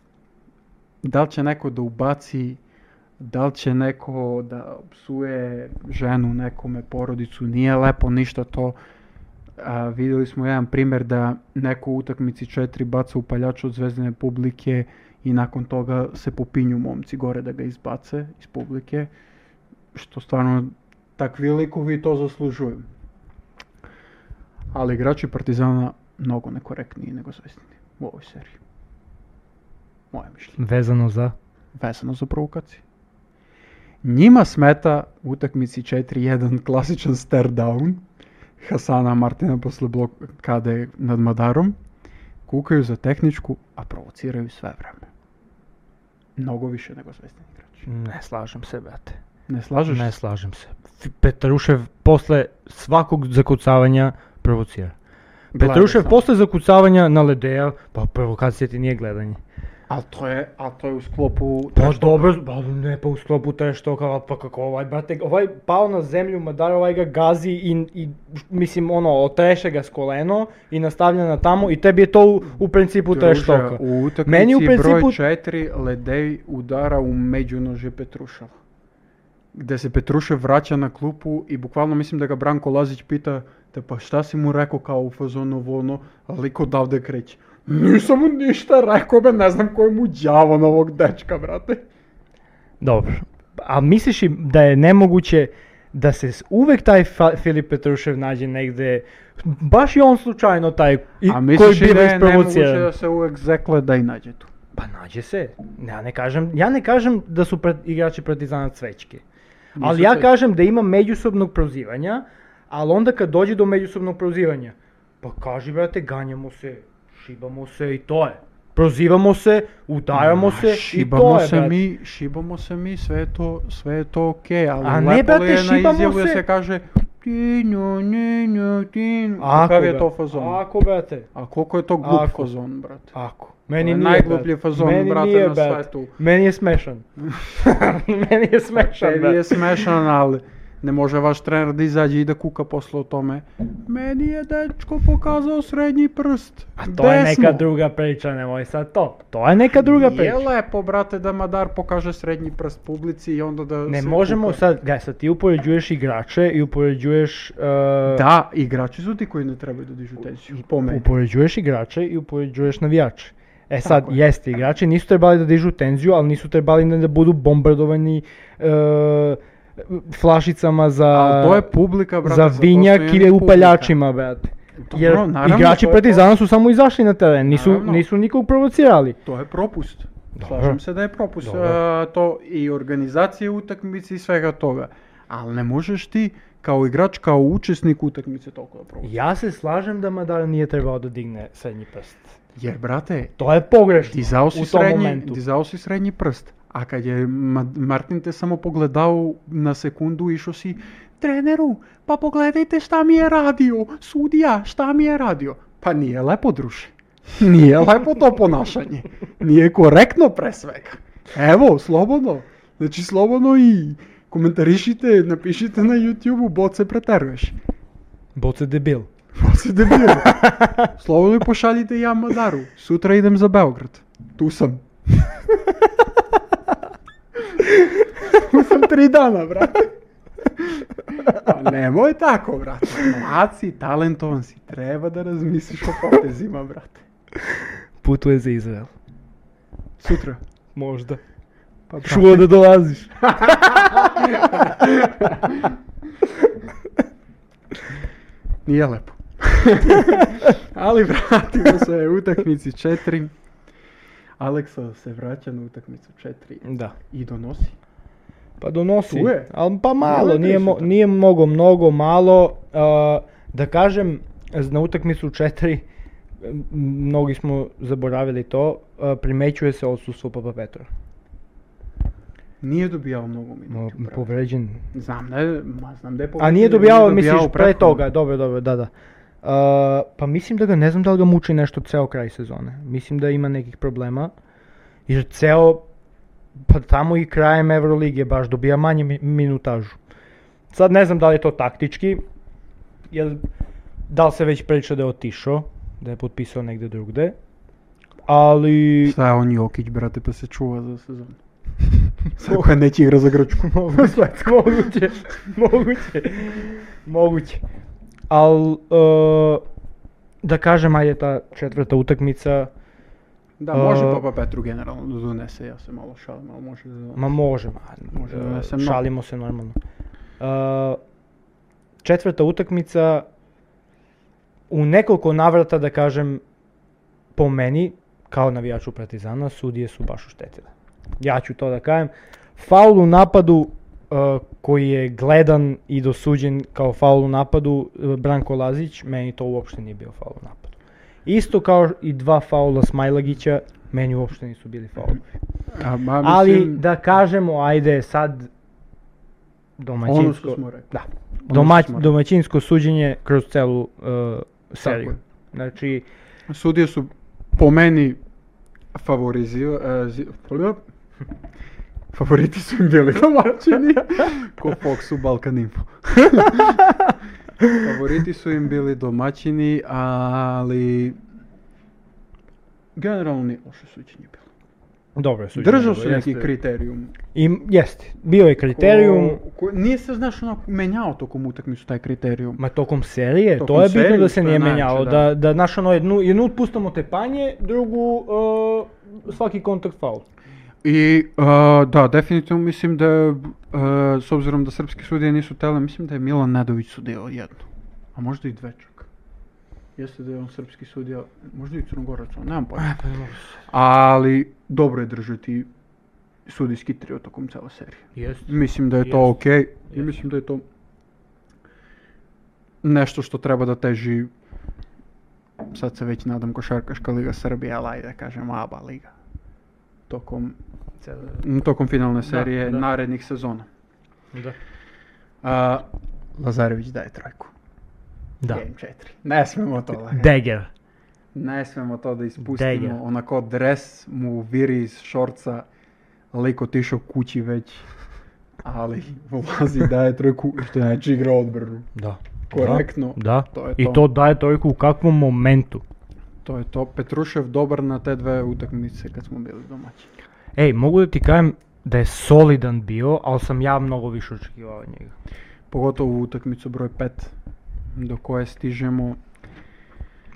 A: Дали ќе некој да убаци, дали ќе некој да псуе жену некоме, породицу, nije лепо ништо то. А, видели смо еден пример да некој у утакмици 4 баца упаљач од звездене публике и након тога се попинју момци горе да га избаце из публике, што стварно такви ликови то заслужуju. Али играчи Партизана многу некоректнiji него Звездини у овој серiji. Моје мишлење.
B: Везано за...
A: Весено за провокации. Njima smeta u utakmici 4-1 klasičan stare down Hasana Martina posle blokade nad Madarom. Kukaju za tehničku, a provociraju sve vreme. Mnogo više nego zvezdani igrači.
B: Не слажам се, брате.
A: Ne slažeš?
B: Не слажам се. Ф- Петрушев после сваког закуцавања провоцира.
A: Gledaj
B: Петрушев
A: samo.
B: после закуцавања на Ледеја, па провокацијата ти nije гледање.
A: Ali to je, ali to je u sklopu...
B: Па добро, ба не па у склопу трештока, па како овај брате, овај пао на земју, мадар овај га гази и, и мислим оно, отреше га с колено и наставља на таму и теби е тоа у принципу трештока.
A: u utakmici
B: Meni u
A: broj
B: principu-
A: 4 Ledej udara u međunože Petruševa. Gde se Petrušev vraća na klupu i bukvalno mislim da ga Branko Lazić pita te pa šta si mu rekao kao u fazonu ovo ono, a lik odavde kreće. Nisam mu ništa rekao, be, ne znam ko je mu đavo na ovog dečka, brate.
B: Добро. А мислиш ли да е немогуќе да се с- увек тај Фа- Филип Петрушев наđe негде баш и он случајно тај и,
A: a
B: кој
A: misliš i da
B: бива
A: je nemoguće
B: испровоциран.
A: da se uvek zekle da i Pa nađe tu.
B: Па наđe се. Ја не кажам, ја не кажам да су пред, играчи партизанат свечки. Али ја
A: свечки.
B: кажам да има меѓусобног прозивања, али онда кад дојде до меѓусобног прозивања,
A: pa
B: па кажи брате, гањамо се, шибамо се и тоа е. Прозивамо се, удајамо се и
A: šibamo
B: тоа е,
A: se
B: брате.
A: mi, šibamo se mi, sve je to, sve je to okej, ali
B: A ne,
A: lepo li
B: brate,
A: je na
B: šibamo
A: izjavu da
B: se.
A: se kaže ti nju, ni nju, ti nju.
B: Ако,
A: Kakav je
B: брате,
A: to fazon?
B: Ако, брате.
A: A koliko je to glup
B: Ako.
A: fazon, brate?
B: Ако. Мени
A: е
B: ние,
A: најглупљи
B: брат.
A: фазон,
B: Мени
A: брате,
B: ние,
A: на
B: брат.
A: свету.
B: Мени е смешан. Мени е смешан,
A: Tebi je
B: брат.
A: smešan, ali ne može vaš trener da izađe i da kuka posle o tome. Meni je dečko pokazao srednji prst.
B: А тоа
A: Desno.
B: е нека друга прича, немој сад то. Тоа е нека друга
A: Je
B: прича.
A: lepo, brate, da Madar pokaže srednji prst publici i onda da
B: Не
A: se
B: можемо
A: kuka.
B: сад, гај, сад ти упореđujеш играче и
A: e,
B: упореđujеш е,
A: Da, igrači su ti koji ne trebaju da dižu tenziju, po meni.
B: упореđuješ играче и упореđujеш навијаче. Е сад,
A: Тако е.
B: јесте, играчи нису требали да дижу тензију, али нису требали ни да буду бомбардовани
A: e,
B: е, флашицама за
A: Ali to je publika, brate.
B: за
A: zato
B: вињак
A: stoji
B: или
A: publika.
B: упаљачима, брате.
A: Dobro,
B: Jer
A: naravno,
B: igrači
A: to je
B: Partizana su samo izašli na teren, nisu,
A: Naravno.
B: nisu nikog provocirali.
A: To je propust.
B: Dobro.
A: Slažem se da je propust.
B: Dobro.
A: a, to i organizacije utakmice i svega toga. Ali ne možeš ti kao igrač, kao učesnik utakmice toliko da provučeš.
B: Ja se slažem da Madar nije trebao da digne srednji prst.
A: Jer, brate,
B: To je pogrešno
A: dizao
B: u
A: si,
B: tom
A: srednji,
B: momentu.
A: dizao si srednji prst. A kad je Ma- Martin te samo pogledao na sekundu, išao si treneru, pa pogledajte šta mi je radio, sudija, šta mi je radio. Pa nije lepo, druže. Nije lepo to ponašanje. Nije korektno pre svega. Evo, slobodno. Znači, slobodno i komentarišite, napišite na YouTube-u, bot se preteruješ.
B: Bot se debil.
A: Pa si debil. Slobodno mi pošaljite ja Madaru. Sutra idem za Beograd. Tu sam. tu sam tri dana, brate. Pa nemoj tako, brate. Mlad si, talentovan si. Treba da razmisliš o potezima, brate.
B: Putuje za Izrael.
A: Sutra.
B: Možda.
A: Pa, brate,
B: Čuo da dolaziš.
A: Nije lepo. Ali vratimo se utakmici 4. Aleksa se vraća na utakmicu 4
B: Da.
A: i donosi.
B: Pa donosi.
A: Tu je.
B: Al, pa
A: Malo
B: malo,
A: je
B: nije, mo,
A: prisutno.
B: nije mnogo, mnogo, malo. a, da kažem, na utakmicu 4, m, mnogi smo zaboravili to, a, primećuje se odsustvo Papa Petra.
A: Nije dobijao mnogo
B: Ma,
A: minuta.
B: Povređen.
A: Znam da je, ma znam da je
B: A
A: povređen,
B: nije
A: ali
B: dobijao, misliš,
A: dobijao
B: pre
A: prethodno.
B: toga, dobro, dobro, da, da. A, pa mislim da ga, ne znam da li ga muči nešto ceo kraj sezone. Mislim da ima nekih problema, jer ceo, pa tamo i krajem Evrolige baš dobija manje mi- minutažu. Sad ne znam da li je to taktički, jer da li se već priča da je otišao, da je potpisao negde drugde, ali...
A: Šta je on Jokić, brate, pa se čuva za sezonu. Svako neće igra za Grčku.
B: Moguće, moguće, moguće, moguće. Al, e, da kažem, ajde ta četvrta utakmica,
A: Da, može
B: A-
A: Papa Petru generalno da donese, ja se malo šalim, ali može da donese.
B: ma može,
A: Može,
B: e,
A: donese mnogo.
B: šalimo se normalno. E, četvrta utakmica, u nekoliko navrata, da kažem, po meni, kao navijaču Partizana, sudije su baš oštetile. Ja ću to da kažem. Faul u napadu e, koji je gledan i dosuđen kao faul u napadu, e, Branko Lazić, meni to uopšte nije bio faul u napadu. Isto kao i dva faula Smajlagića, meni uopšte nisu bili faulovi.
A: A, ma,
B: Ali
A: Pa mislim,
B: da kažemo, ajde sad domaćinsko.
A: Ono što smo rekli.
B: Da.
A: što
B: Domać-
A: smo rekli.
B: domaćinsko suđenje kroz celu e, seriju.
A: je.
B: Znači,
A: Sudije su po meni favorizio... e, zi- polup. Favoriti su im bili domaćini. Ko Fox u Balkan Info. Favoriti su im bili domaćini, ali... Generalno nije loše suđenje bilo.
B: dobro je suđenje.
A: Držao
B: bilo,
A: se neki
B: jeste.
A: kriterijum.
B: I, jeste, bio je kriterijum,
A: Ko- ko- nije se, znaš, ono, menjao tokom utakmicu taj kriterijum.
B: ma tokom serije,
A: Tokom
B: to je bitno
A: serije,
B: da se
A: to je
B: nije
A: najjače,
B: menjalo,
A: da.
B: da, da, znaš ono jednu, jednu otpustamo tepanje, drugu e, svaki kontakt faul.
A: I, a, da, definitivno mislim da, je, a, s obzirom da srpski sudije nisu tele, mislim da je Milan Nedović sudio jedno. A možda i dve čak. Jeste da je on srpski sudija, možda i crnogorac, ali nemam pojma. Ali, dobro je držati sudijski trio tokom cele serije.
B: Jeste.
A: Mislim da je to
B: Jeste.
A: okej i
B: Jeste.
A: mislim da je to nešto što treba da teži sad se već nadam košarkaška liga Srbije, ali ajde da kažem ABA liga tokom, tokom finalne serije
B: da.
A: narednih sezona.
B: Da.
A: A, Lazarević daje trojku.
B: Da.
A: Game 4. Ne smemo to da
B: Dagger.
A: Ne smemo to da
B: Dega.
A: ispustimo. Onako dres mu viri iz šorca. Lik otišao kući već. Ali ulazi daje trojku što znači igra odbranu.
B: Da.
A: Korektno.
B: Da.
A: To je
B: I
A: to.
B: to daje toliko u kakvom momentu.
A: To je to. Petrušev dobar na te dve utakmice kad smo bili domaći.
B: Ej, mogu da ti kažem da je solidan bio, ali sam ja mnogo više očekivao od njega.
A: Pogotovo u utakmicu broj 5 do koje stižemo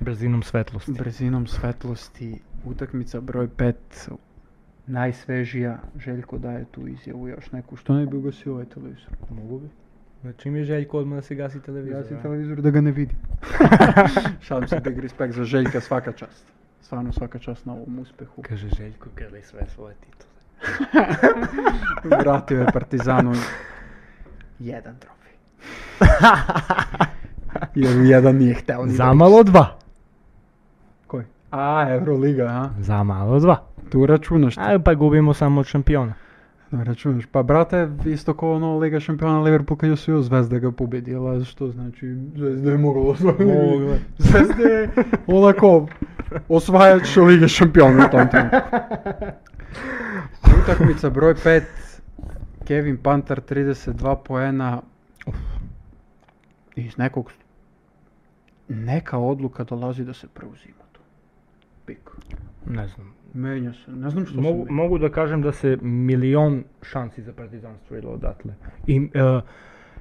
B: Brzinom svetlosti.
A: brzinom svetlosti. Utakmica broj 5 najsvežija. Željko daje tu izjavu još neku. Što ne bi ugasio ovaj televizor?
B: Mogu bi. Znači mi je željko odmah da se gasi televizor.
A: Ja si televizor da ga ne vidim. Šalim se, big respect za Željka, svaka čast. Stvarno svaka čast na ovom uspehu.
B: Kaže Željko grli sve svoje titule.
A: Vratio je Partizanu jedan trofej. Jer mu jedan nije hteo ni da
B: Zamalo dva.
A: reči. Koji? A, Euroliga, a?
B: Zamalo dva.
A: Tu računaš, ti.
B: A pa gubimo samo od šampiona.
A: Tu računaš. Pa brate, isto kao ono Liga šampiona Liverpool kad je osvojio Zvezda ga pobedila, što znači Zvezda je mogla osvojiti.
B: Mogla.
A: Zvezda je onako osvajač Lige šampiona u tom trenutku. Utakmica broj 5, Kevin Pantar 32 poena. Iz nekog neka odluka dolazi da se preuzima tu. Pik.
B: Ne znam.
A: Menja se. Ne znam što se
B: Mogu,
A: menja.
B: mogu da kažem da se milion šansi za Partizan stvorilo odatle. I e,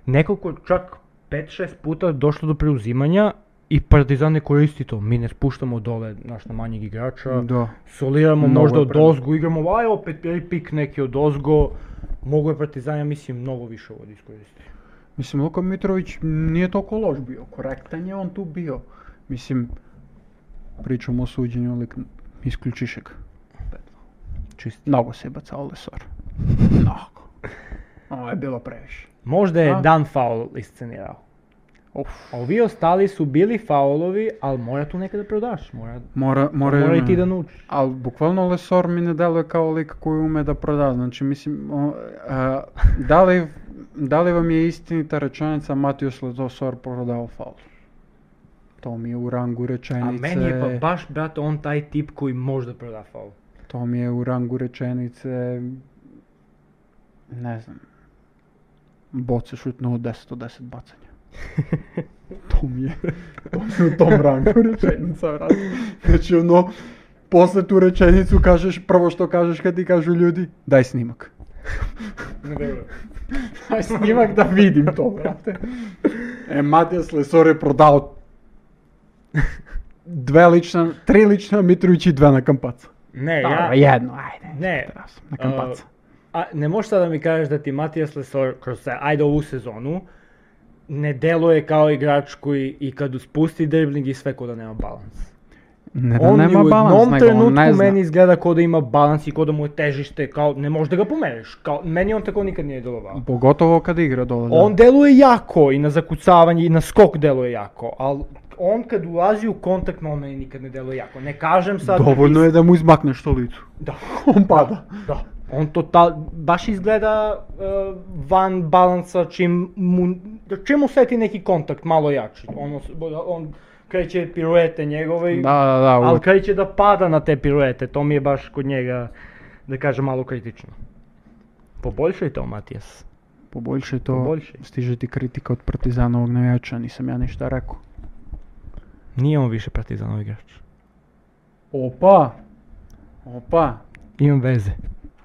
B: nekoliko čak 5-6 puta došlo do preuzimanja i Partizan ne koristi to. Mi ne spuštamo dole naš na manjeg igrača.
A: Da.
B: soliramo
A: Mnogo
B: možda
A: je
B: od
A: prednost.
B: ozgo, igramo, aj opet prvi pik neki od ozgo, mogu je Partizan, ja mislim, mnogo više ovo da iskoristi.
A: Mislim, Luka Mitrović nije toliko loš bio, korektan je on tu bio. Mislim, pričamo o suđenju, ali isključiše ga. 5-2.
B: чисти.
A: Много се бацал Лесор. Много. Ова е било превише.
B: Можда е
A: А?
B: дан фаул исценирал.
A: Оф.
B: Овие остали су били фаулови, ал мора ту некаде продаш, мора,
A: Мора, мора,
B: мора и ти да научиш.
A: Ал буквално Лесор ми не делува као лик кој уме да прода. Значи, мислим, о, а, дали, дали вам е истината реченица Матиос Лесор продал фал? То ми е у рангу
B: А
A: реченице.
B: мене е па баш брат он тај тип кој може да прода фаул.
A: To mi je u rangu rečenice, ne znam, boce šutno od 10 od 10 bacanja. to mi je, to mi je u tom rangu rečenica, brate. Znači ono, posle tu rečenicu kažeš, prvo što kažeš kad ti kažu ljudi, daj snimak. Daj snimak da vidim to, brate. E, Matijas Lesor je prodao dve lična, tri lična Mitrović i dve na kampaca.
B: Не,
A: Dobro,
B: ја...
A: jedno, ajde.
B: Не,
A: Раз, на кампаца.
B: А, не можеш сега да ми кажеш да ти Матијас Лесор кроз се, ајде ову сезону, не делуе као играч кој и каду спусти дриблинг и све ко да нема баланс.
A: Не да
B: Он ни
A: нема
B: у
A: баланс,
B: едном
A: него он не
B: тренутку
A: зна.
B: мене изгледа ко да има баланс и ко да му е тежиште, као не може да га помереш. Као, мене он тако никад не е делувал.
A: Поготово каде игра доле.
B: Он делуе јако и на закуцавање и на скок делуе јако, ал он кад улази у контакт на мене никад не делуе јако. Не кажем
A: да.
B: сад
A: Доволно е да му измакнеш то лицо.
B: Да.
A: Он пада.
B: Да. Он тотал баш изгледа е, ван баланса чим му чим усети неки контакт мало јачи. Он ос- он креće пируете негове и-
A: Да, да, да.
B: ал
A: Ал...
B: креće да пада на те пируете. То ми е баш код njega да кажа мало критично. Побольше то, Матијас.
A: Побольше то
B: Побольше.
A: стиже ти критика од партизановог навијача, нисам ја ништа рекол.
B: Ние он више партизанов играч.
A: Опа! Опа!
B: Имам везе.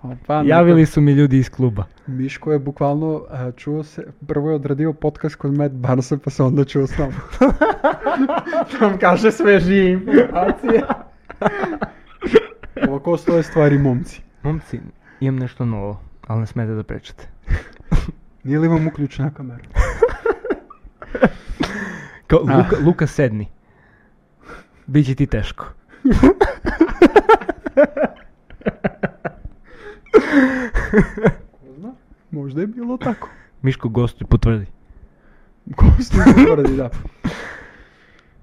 A: Опа,
B: Јавили су ми људи из клуба.
A: Мишко е буквално а, чуо се, прво е одрадио подкаст код Мед Барса, па се онда чуо с нам. Нам каже свежи информација. Овако стоје ствари момци.
B: Момци, имам нешто ново, ал не смете да пречете.
A: Ние ли имам уклучна камера?
B: Ка, Лука, Лука седни. Biće ti teško.
A: Možda je bilo tako.
B: Miško gostuj, potvrdi.
A: Gosti mi tvrdi, da.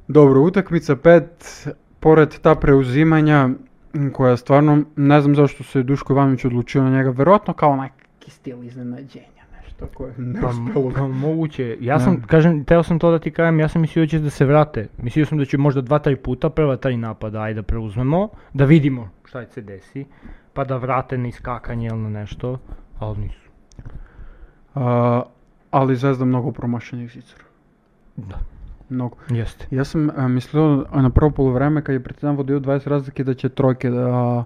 A: Dobro, utakmica 5, pored ta preuzimanja m, koja stvarno, ne znam zašto se Duško Ivanović odlučio na njega, verovatno kao neki stil iznenađenja, nešto koje ne uspelo.
B: Pa moguće. Ja
A: Ne.
B: sam, kažem, teo sam to da ti kažem, ja sam mislio da će da se vrate. Mislio sam da će možda dva, tri puta, prva tri napada, ajde da preuzmemo, da vidimo šta se desi, pa da vrate na iskakanje ili na nešto, ali nisu.
A: A, ali zvezda mnogo promašenih zicera.
B: Da,
A: Mnogo. e,
B: jeste.
A: Јас сум а, мислил а, на прво полувреме кога Партизан водио 20 разлики да ќе тројке да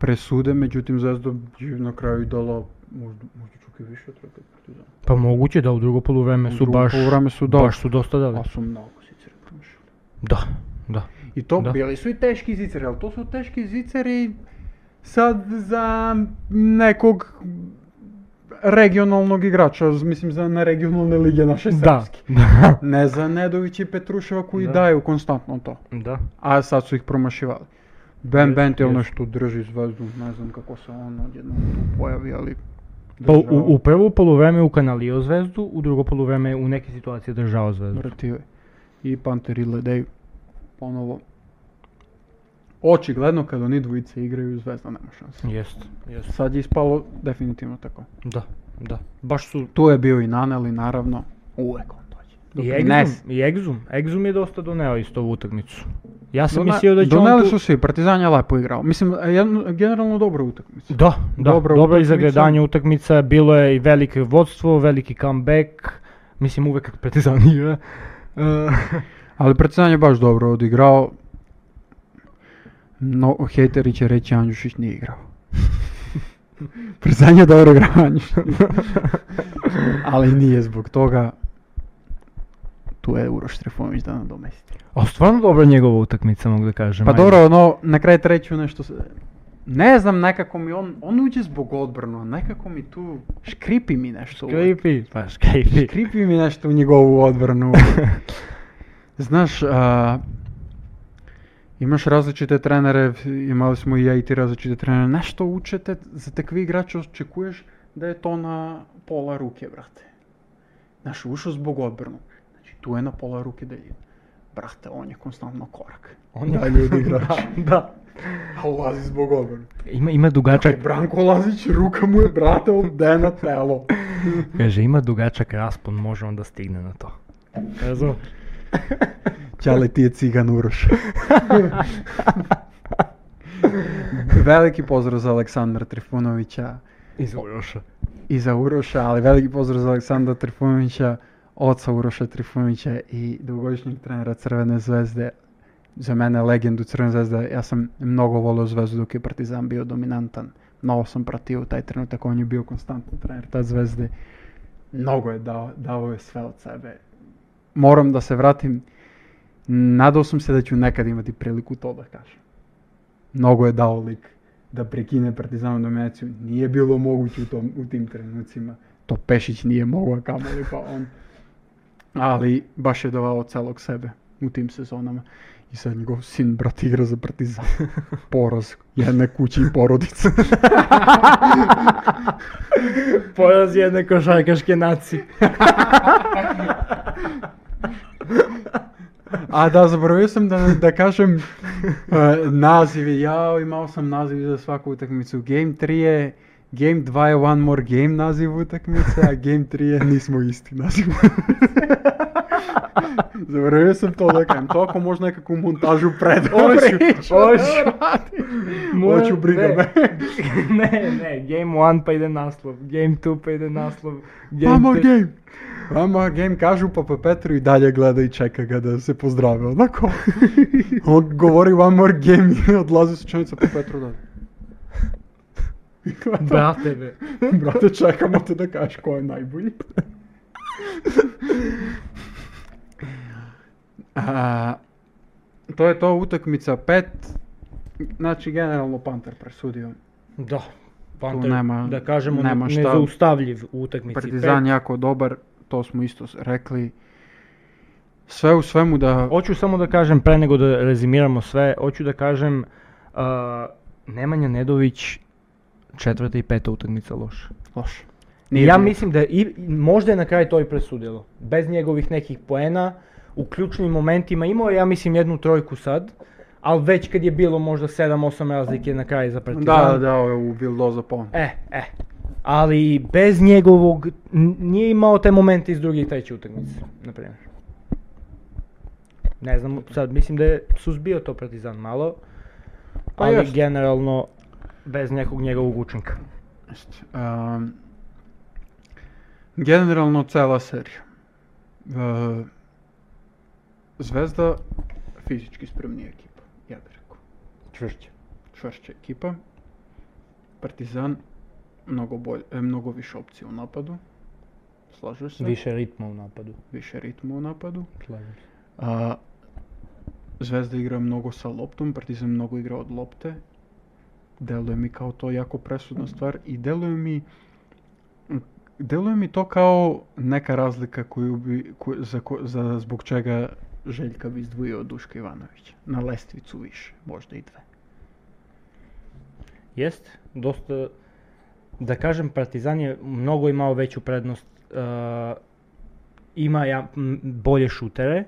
A: пресуде, меѓутим Зvezda ја на крај и дала можда можда чук и више тројка од Партизан.
B: Pa moguće da u drugo poluvrijeme
A: U
B: su
A: drugom
B: baš,
A: poluvrijeme su, da.
B: baš su dosta dali.
A: Па сум многу зицери промашили.
B: Da, da.
A: И то
B: Да.
A: били су и тешки зицери, ал то су тешки зицери сад за неког регионалног играча, мислим за на регионалне лиге наше
B: Da,
A: српски. Не за Недовиќ и Петрушева кои
B: Да.
A: дају константно то.
B: da.
A: a sad su ih promašivali. Ben
B: Jest,
A: Bentil
B: jest.
A: nešto drži zvezdu, ne znam kako se on odjednom tu pojavi, ali...
B: Pa u,
A: država
B: u prvo polovreme u kanalio zvezdu, u drugo polovreme u neke situacije držao zvezdu.
A: Vrtio je. I Panter i Ledej ponovo. Očigledno kad oni dvojice igraju, zvezda nema šanse.
B: Jest, jest.
A: Sad je ispalo definitivno tako.
B: Da, da. Baš su...
A: Tu je bio i Naneli, naravno. Uvek on dođe.
B: I
A: Doprinese.
B: Egzum, i Egzum. Egzum je dosta doneo isto ovu utakmicu. Ja sam
A: Dona-
B: mislio da će on
A: Doneli
B: tu...
A: su svi, Partizan je lepo igrao. Mislim, jedno- generalno dobra utakmica.
B: Da, da.
A: Dobra
B: Dobro, dobro i
A: utakmica.
B: zagledanje utakmica. Bilo je i veliko vodstvo, veliki comeback. Mislim uvek kad Partizan igra. E,
A: Ali Partizan je baš dobro odigrao. No, hejteri će reći Andjušić nije igrao. Partizan je dobro igrao Andjušić. Ali nije zbog toga. Tu je Uroš Trifunović da nadomesti.
B: A stvarno dobra njegova utakmica, mogu da kažem.
A: Pa
B: ajde.
A: dobro, ono, na kraj treću nešto se... Ne znam, nekako mi on, on uđe zbog odbranu, a nekako mi tu škripi mi nešto. uvek.
B: Škripi, pa škripi.
A: Kripi mi nešto u njegovu odbranu. Znaš, a, Имаш различите тренери, имали смо и ја и ти различите тренери. Нешто учете за такви играчи, очекуваш да е то на пола руке, брате. Знаеш, ушо због одбрано. Значи, ту е на пола руке да идем. Брате, он е константно корак.
B: Он
C: Да, лјуди играч.
B: да.
A: А улази због одбрано.
B: Има, има
A: Кај
B: дугачак,
A: Бранко Лазич, рука му е, брате, обдена тело.
B: каже, има дугачак распон, може он да стигне на то. Разум?
A: Чале ти е циган Урош. Велики поздрав за Александра Трифуновиća
B: Изуроша.
A: i za Uroša, ali veliki pozdrav za Aleksandra Trifunovića, oca Uroša Trifunovića i dugogodišnjeg trenera Crvene zvezde. Za mene legendu Crvene zvezde, ja sam mnogo volio zvezdu dok je Partizan bio dominantan. Mnogo sam pratio u taj trenutak, on je bio konstantan trener ta zvezde. Mnogo je dao, dao je sve od sebe. Moram da se vratim, nadao sam se da ću nekad imati priliku to da kažem. Mnogo je dao lik da prekine Partizanovu dominaciju. Nije bilo moguće u, tom, u tim trenucima. To Pešić nije mogao, kamoli pa on. Ali baš je davao od celog sebe u tim sezonama. I sad njegov sin, brat, igra za Partizan. Poraz jedne kući i porodice.
B: Пораз jedne košarkaške nacije.
A: A da, zaboravio sam da, da kažem uh, nazive. Ja imao sam naziv za svaku utakmicu. Game 3 je Game 2 je One More Game naziv utakmice, a Game 3 je Nismo isti naziv. Zaboravio sam to da kažem. To ako možda nekakvu montažu predobri.
B: Hoću, hoću.
A: Hoću, briga me.
B: ne, ne, Game 1 pa ide naslov, Game 2 pa ide naslov, Game
A: One More
B: 3...
A: Game. One More Game kažu pa pa Petru i dalje gleda i čeka ga da se pozdrave. Onako, on govori One More Game i odlazi sučanica pa Petru dalje.
B: Brate, бе.
A: Brate, čekamo te da kažeš ko je najbolji. A, to je to utakmica 5. Znači, generalno Panter presudio.
B: Da, Panter,
A: nema-
B: da kažemo,
A: nema šta.
B: nezaustavljiv u utakmici.
A: Partizan jako dobar, to smo isto s- rekli. Sve u svemu da...
B: Hoću samo da kažem, pre nego da rezimiramo sve, hoću da kažem, a, Nemanja Nedović, četvrta i peta utakmica loša.
A: Loš.
B: ja mislim da je i, možda je na kraju to i presudilo. Bez njegovih nekih poena, u ključnim momentima imao je, ja mislim, jednu trojku sad, ali već kad je bilo možda 7-8 razlike na kraju za Partizan.
A: Da, da, ovo je u Bildoza pon.
B: E, e. Ali bez njegovog, n- nije imao te momente iz druge i treće utakmice, na primjer. Ne znam, sad mislim da je suzbio to Partizan malo,
A: Pa
B: ali
A: jest.
B: generalno bez nekog njegovog učinka.
A: Jeste. Ehm, generalno cela serija. Ehm, Zvezda fizički spremnija ekipa, ja bih rekao.
B: Čvršće.
A: Čvršća ekipa. Partizan mnogo, bolj, e, mnogo više opcija u napadu. Slažeš se?
B: Više ritma u napadu.
A: Više ritma u napadu.
B: slažem se.
A: A, Zvezda igra mnogo sa loptom, Partizan mnogo igra od lopte. Deluje mi kao to jako presudna stvar i deluje mi deluje mi to kao neka razlika koju bi, ko- za, ko- za, zbog čega Željka bi izdvojio od Duška Ivanovića. Na lestvicu više, možda i dve.
B: Jest, dosta, da kažem, Partizan je mnogo imao veću prednost, e, ima ja, m, bolje šutere,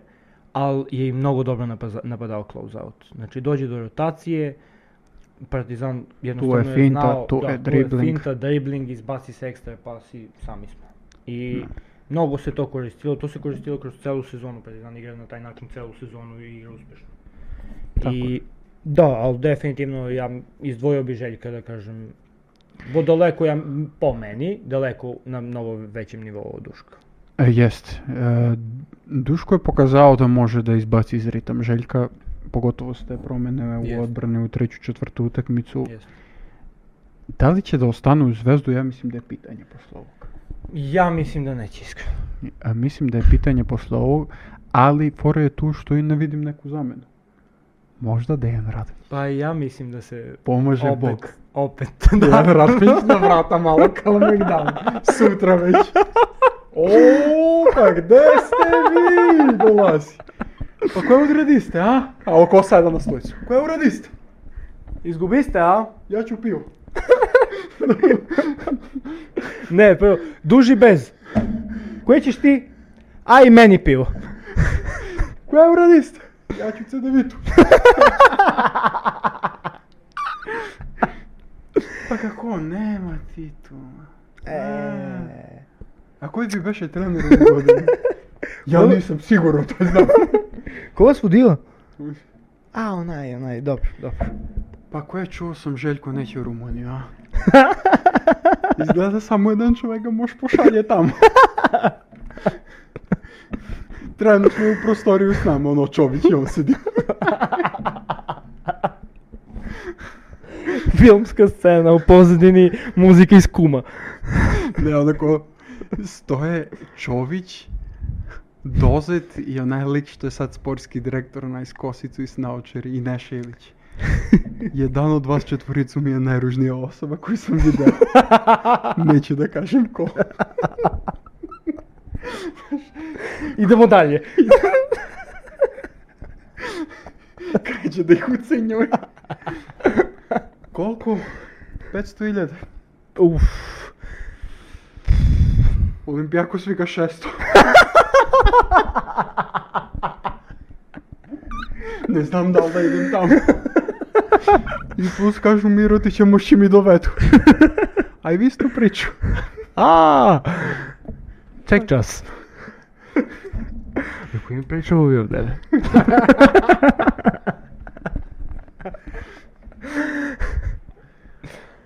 B: ali je i mnogo dobro napaza- napadao close-out. Znači dođe do rotacije, Partizan jednostavno je,
A: finta,
B: znao,
A: tu
B: da,
A: je dribling.
B: finta, dribling, izbaci se ekstra pas i sami smo. I mnogo se to koristilo, to se koristilo kroz celu sezonu, Partizan igra na taj način celu sezonu i igra uspešno.
A: Tako je.
B: I, da, ali definitivno ja m- izdvojio bi Željka da kažem, bo daleko ja, m- po meni, daleko na mnogo većem nivou od Duška.
A: E, jest. E, Duško je pokazao da može da izbaci iz ritam Željka, pogotovo s te promene u
B: Jest.
A: odbrane u treću, četvrtu utakmicu.
B: Jeste.
A: Da li će da ostane u Zvezdu, ja mislim da je pitanje posle ovog.
B: Ja mislim da neće iskreno.
A: A mislim da je pitanje posle ovog, ali fora je tu što i ne vidim neku zamenu. Možda Dejan Radović.
B: Pa i ja mislim da se
A: Pomaže
B: opet,
A: Bog.
B: opet,
A: Dejan
B: da.
A: Radović na vrata malo kao Megdan. Sutra već. O, pa gde ste vi? Dolazi. Pa кој уреди сте, а? А око сајда на стојцу. Кој уреди сте?
B: Изгуби сте, а?
A: Ја ќе пио.
B: Не, прво, дужи без. Кое ќеш ти? А и мени пиво.
A: Кој уреди сте? Ја ќе цедевиту. Па како нема ти тума?
B: Е.
A: А кој ви беше тренер ове години? Ја нисам сигурно, тоа знам.
B: Кога вас водила? А, онај, онај, добро, добро.
A: Па кој чуо сам Желко неќе у Румунија, а? Изгледа само еден човек га може пошаље таму. Трено сме у просторију с нама, оно Човиќ и он седи.
B: Филмска сцена у позадини, музика из кума.
A: Не, онако, стое Човиќ, Дозет и онај лик што е сад спортски директор на Искосицу и с наочери и Нешевиќ. Један од вас четворицу ми е најружнија особа кој сам видел. Неќе да кажем кој.
B: Идемо далје.
A: Кај да их оценјува. Колку? 500.000.
B: Уф.
A: Олимпијакос вика 600. Не знам дал да идем таму. И плюс кажу Миро ти ќе моши ми доведу. Ај ви исто причу.
B: А. Чек час. Кој ми пречува овие од тебе?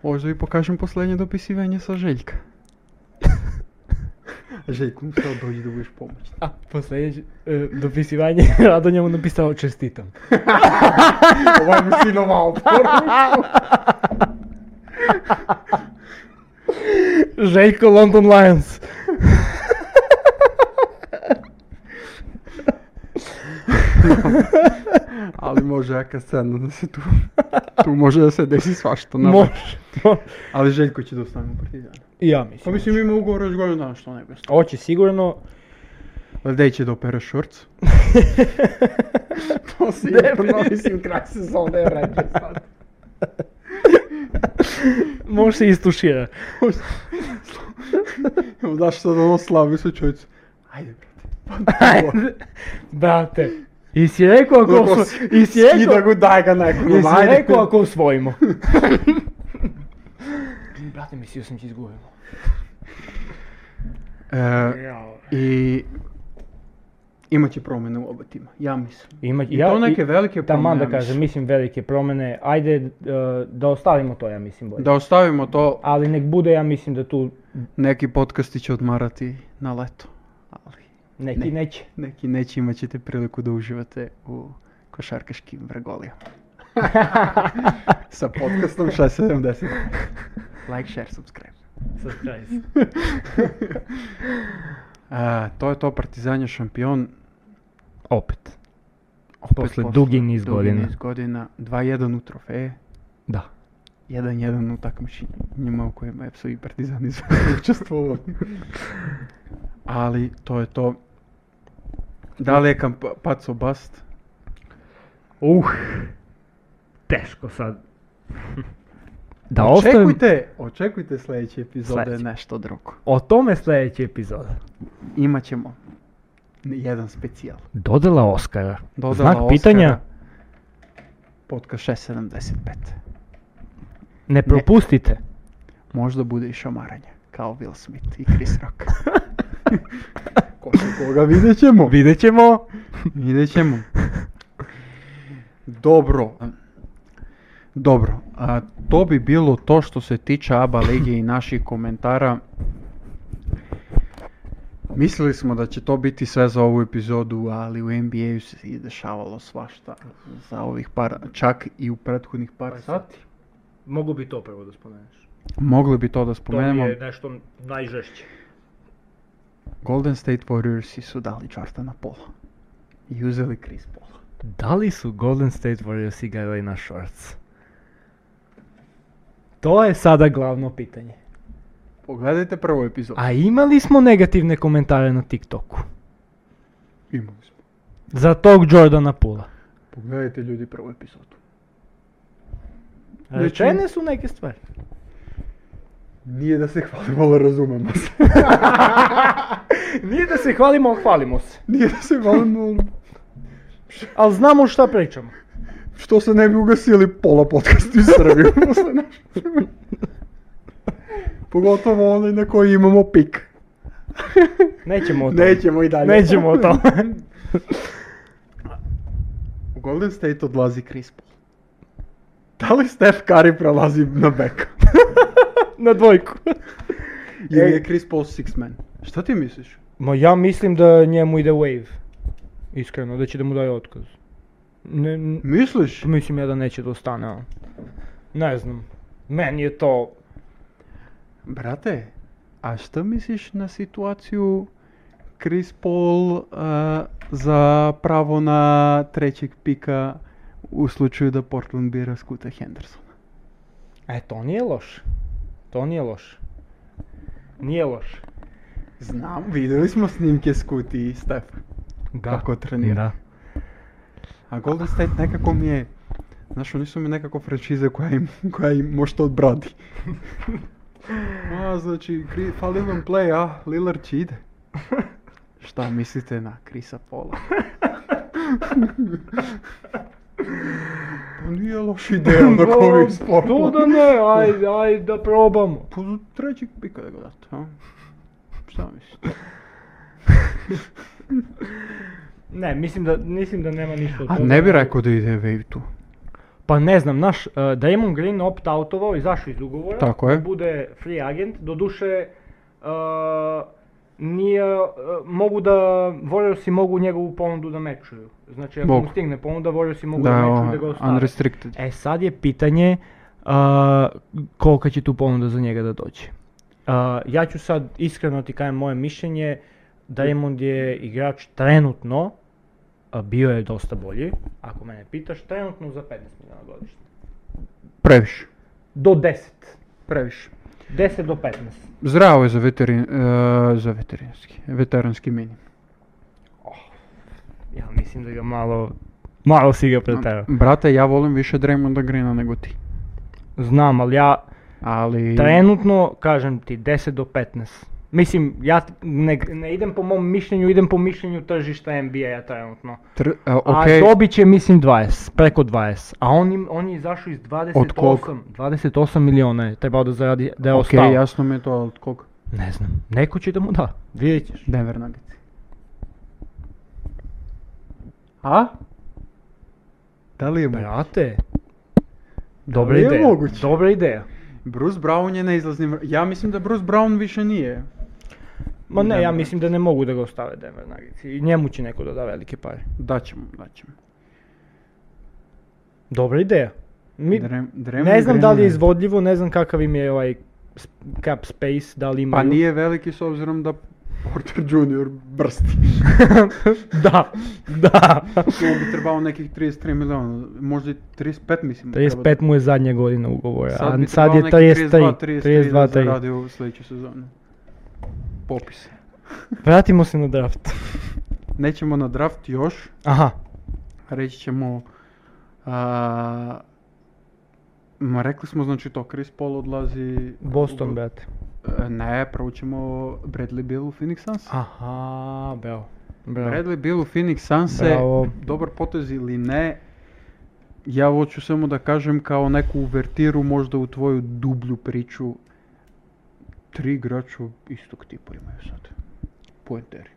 A: Може да ви покажем последње дописивање со Желјка. Желјко му се дојде да будеш помоќ.
B: А, последње е, дописивање, Радоња му написао честитам.
A: Ова е мислинова опора.
B: Желко Лондон Лајонс.
A: Али може јака сцена да се ту. Ту може да се деси свашто. на
B: Може.
A: Али Желјко ќе да остане у Партизан.
B: Ја
A: Па
B: мислам.
A: мислим има уговор од година дана што не бе.
B: Очи сигурно.
A: Ледеј ќе да опера шорц. То Па си
B: Definitivno.
A: крај сезоне реќе сад.
B: Може се истушира.
A: Знаеш што да ослави се човече. Ајде брате.
B: Ајде. Брате. И си рекол ако
A: Ако
B: осво... И си
A: И да
B: рекол...
A: го дај га некој.
B: И
A: ама
B: си
A: ајде.
B: рекол ако освоимо. Брате, мислио сам ќе изгубимо.
A: Е, И имаќе промена у оба тима, ја мислам.
B: Има
A: И то неке велике промени,
B: Таман да
A: ја
B: кажам,
A: мислам.
B: мислим велике промене. Ајде е, да оставимо тоа, ја мислим бој.
A: Да оставимо то,
B: Али нек буде, ја мислим да ту
A: неки подкасти ќе одмарат и на лето. Али
B: неки
A: Не.
B: неќе.
A: неки неќе имаќете прилику да уживате у кошаркашким вреголија. Са подкастом 670. Лайк, шер, subscribe.
B: Subscribe.
A: А, тоа е тоа партизање шампион.
B: Опет.
A: Опет
B: После дуги низ
A: Дуги
B: година.
A: низ година. 2-1 у трофеј.
B: Да.
A: 1-1 у такмичење. Нема у којема епсо и партизани се учествували. Али тоа е тоа. Дали е кам па- пат со баст?
B: Ух. Тешко сад. Да оставим.
A: очекујте, очекујте следеќи епизод да е
B: Следеќи.
A: нешто друго.
B: О томе следеќи епизода.
A: Имаќемо еден специјал.
B: Додела Оскара.
A: Додела
B: Знак
A: Оскара.
B: питања.
A: Подкаст 675.
B: Не пропустите.
A: Можда буде и шамарење, као Вил Смит и Крис Рок. Кој се кога видеќемо?
B: Видеќемо.
A: Видеќемо. Добро. Добро. А, то би било то што се тича Аба Лиги и наших коментара. Мислили смо да ќе то бити све за ову епизоду, али у NBA се и дешавало свашта за ових пар, чак и у претходних
B: Pa
A: пар сати.
B: Могу би то прво да споменеш.
A: Могле би то да споменемо.
B: нешто најжешće.
A: Golden State Warriors su dali Jordana Pola. I uzeli Chris Paula.
B: Дали су Golden State Warriors играли на шортс? То е сада главно питање.
A: Pogledajte prvu epizodu.
B: А имали смо негативне коментаре на TikToku?
A: Imali smo.
B: За тог Джордана Пула.
A: Pogledajte ljudi prvu epizodu. Znači-
B: Rečene su neke stvari.
A: Nije da se hvalimo, ali razumemo se.
B: Nije da se hvalimo, ali hvalimo se.
A: Nije da se hvalimo, ali
B: Ali znamo šta pričamo.
A: što se ne bi ugasili pola podcasta iz Srbije posle naše. Pogotovo onaj na koji imamo pik.
B: Nećemo o tome.
A: Nećemo i dalje.
B: Nećemo o tome.
A: U Golden State odlazi Chris Paul. Da li Steph Curry prolazi na beka?
B: Na dvojku.
A: Ili
B: Ej.
A: je Chris Paul six man? Šta ti misliš?
B: Ma ja mislim da njemu ide wave. Iskreno, da će da mu daje otkaz. Ne, n-
A: Misliš?
B: mislim ja da neće da ostane, ali. Ne znam. Meni je to...
A: Brate, a šta misliš na situaciju Chris Paul uh, za pravo na trećeg pika u slučaju da Portland bira Scoota Hendersona?
B: E, to nije loš. To nije loš. Nije loš.
A: Znam, videli smo snimke Scooti i Steph
B: Da.
A: kako trenira. A Golden State nekako mi je, znaš, oni su mi nekako franšize koja im, koja im možda odbrodi. a, znači, kri, fali vam play, a, Lillard će ide. Šta mislite na Krisa Pola? pa nije loš ideja na kovi sport.
B: To da ne, ajde, ajde da probamo.
A: Pa za trećeg pika da ga date, a? Šta mislite?
B: Ne, mislim da, mislim da nema ništa od
A: A
B: toga.
A: ne bi rekao da ide Wave tu.
B: Pa ne znam, znaš, e, Damon Green opt-outovao, izašao iz ugovora.
A: Tako je.
B: Bude free agent, doduše, e, nije, e, mogu da, Warriorsi mogu njegovu ponudu da mečuju. Znači, ako
A: Mogu.
B: mu stigne ponuda, Warriorsi mogu da,
A: Da,
B: mečuju da
A: ovo,
B: ga ostave.
A: unrestricted.
B: E sad je pitanje uh, kolika će tu ponuda za njega da dođe. Uh, ja ću sad iskreno ti kažem moje mišljenje, Diamond je igrač trenutno, a bio je dosta bolji, ako mene pitaš, trenutno za 15 milijuna godišnje.
A: Previše.
B: Do 10.
A: Previše.
B: 10 do 15.
A: Zdravo je za, veterin, e, za veterinski, veteranski minimum.
B: Ja mislim da ga malo, malo si ga preterao.
A: Brate, ja volim više Draymonda Greena nego ti.
B: Znam, ali ja
A: Ali...
B: trenutno, kažem ti, 10 do 15. Mislim, ja ne, ne idem po mom mišljenju, idem po mišljenju tržišta NBA trenutno.
A: Tr- e,
B: A
A: ok,
B: dobit će mislim 20, preko 20. A on, im, on je izašao iz 28,
A: Od koliko?
B: 28 miliona je trebao da zaradi, da je
A: ok,
B: ostao.
A: jasno mi je to, ali od koga?
B: Ne znam, neko će da mu da, vidjet ćeš.
A: Denver Nuggets. A? Da li je moguće?
B: Brate, dobra
A: je
B: ideja,
A: moguće?
B: dobra ideja.
A: Bruce Brown je na izlaznim... vr- Ja mislim da Bruce Brown više nije.
B: Ma ne, ja
A: Denver
B: mislim da ne mogu da ga ostave Denver Nuggets i njemu će neko da da velike pare.
A: Daćemo, daćemo.
B: Dobra ideja. Mi,
A: Dre- Draymond
B: ne znam da
A: Green
B: li je
A: je-
B: izvodljivo, ne znam kakav im je ovaj sp- cap space, da li imaju.
A: Pa nije veliki s obzirom da Porter Jr. brsti.
B: da, da.
A: Tu bi trebao nekih 33 miliona, možda i 35 mislim. da treba da-
B: 35 mu je zadnja godina ugovora,
A: Sad
B: a
A: bi
B: sad je
A: trebao neki
B: 33,
A: 32-33 da
B: 32-3.
A: zaradi u sljedećoj sezoni. Popis.
B: Vratimo se na draft.
A: Nećemo na draft još,
B: Aha,
A: reći ćemo... A, ma rekli smo znači to, Chris Paul odlazi...
B: Boston,
A: u-
B: brate.
A: E, Ne, prvo ćemo Bradley Bill u Phoenix Suns.
B: Aha, bravo. Bravo.
A: Bradley Bill u Phoenix Suns je
B: Bravo.
A: dobar potez ili ne, ja hoću samo da kažem kao neku uvertiru možda u tvoju dublju priču. Tri igrača istog tipa imaju sad. Poenteri.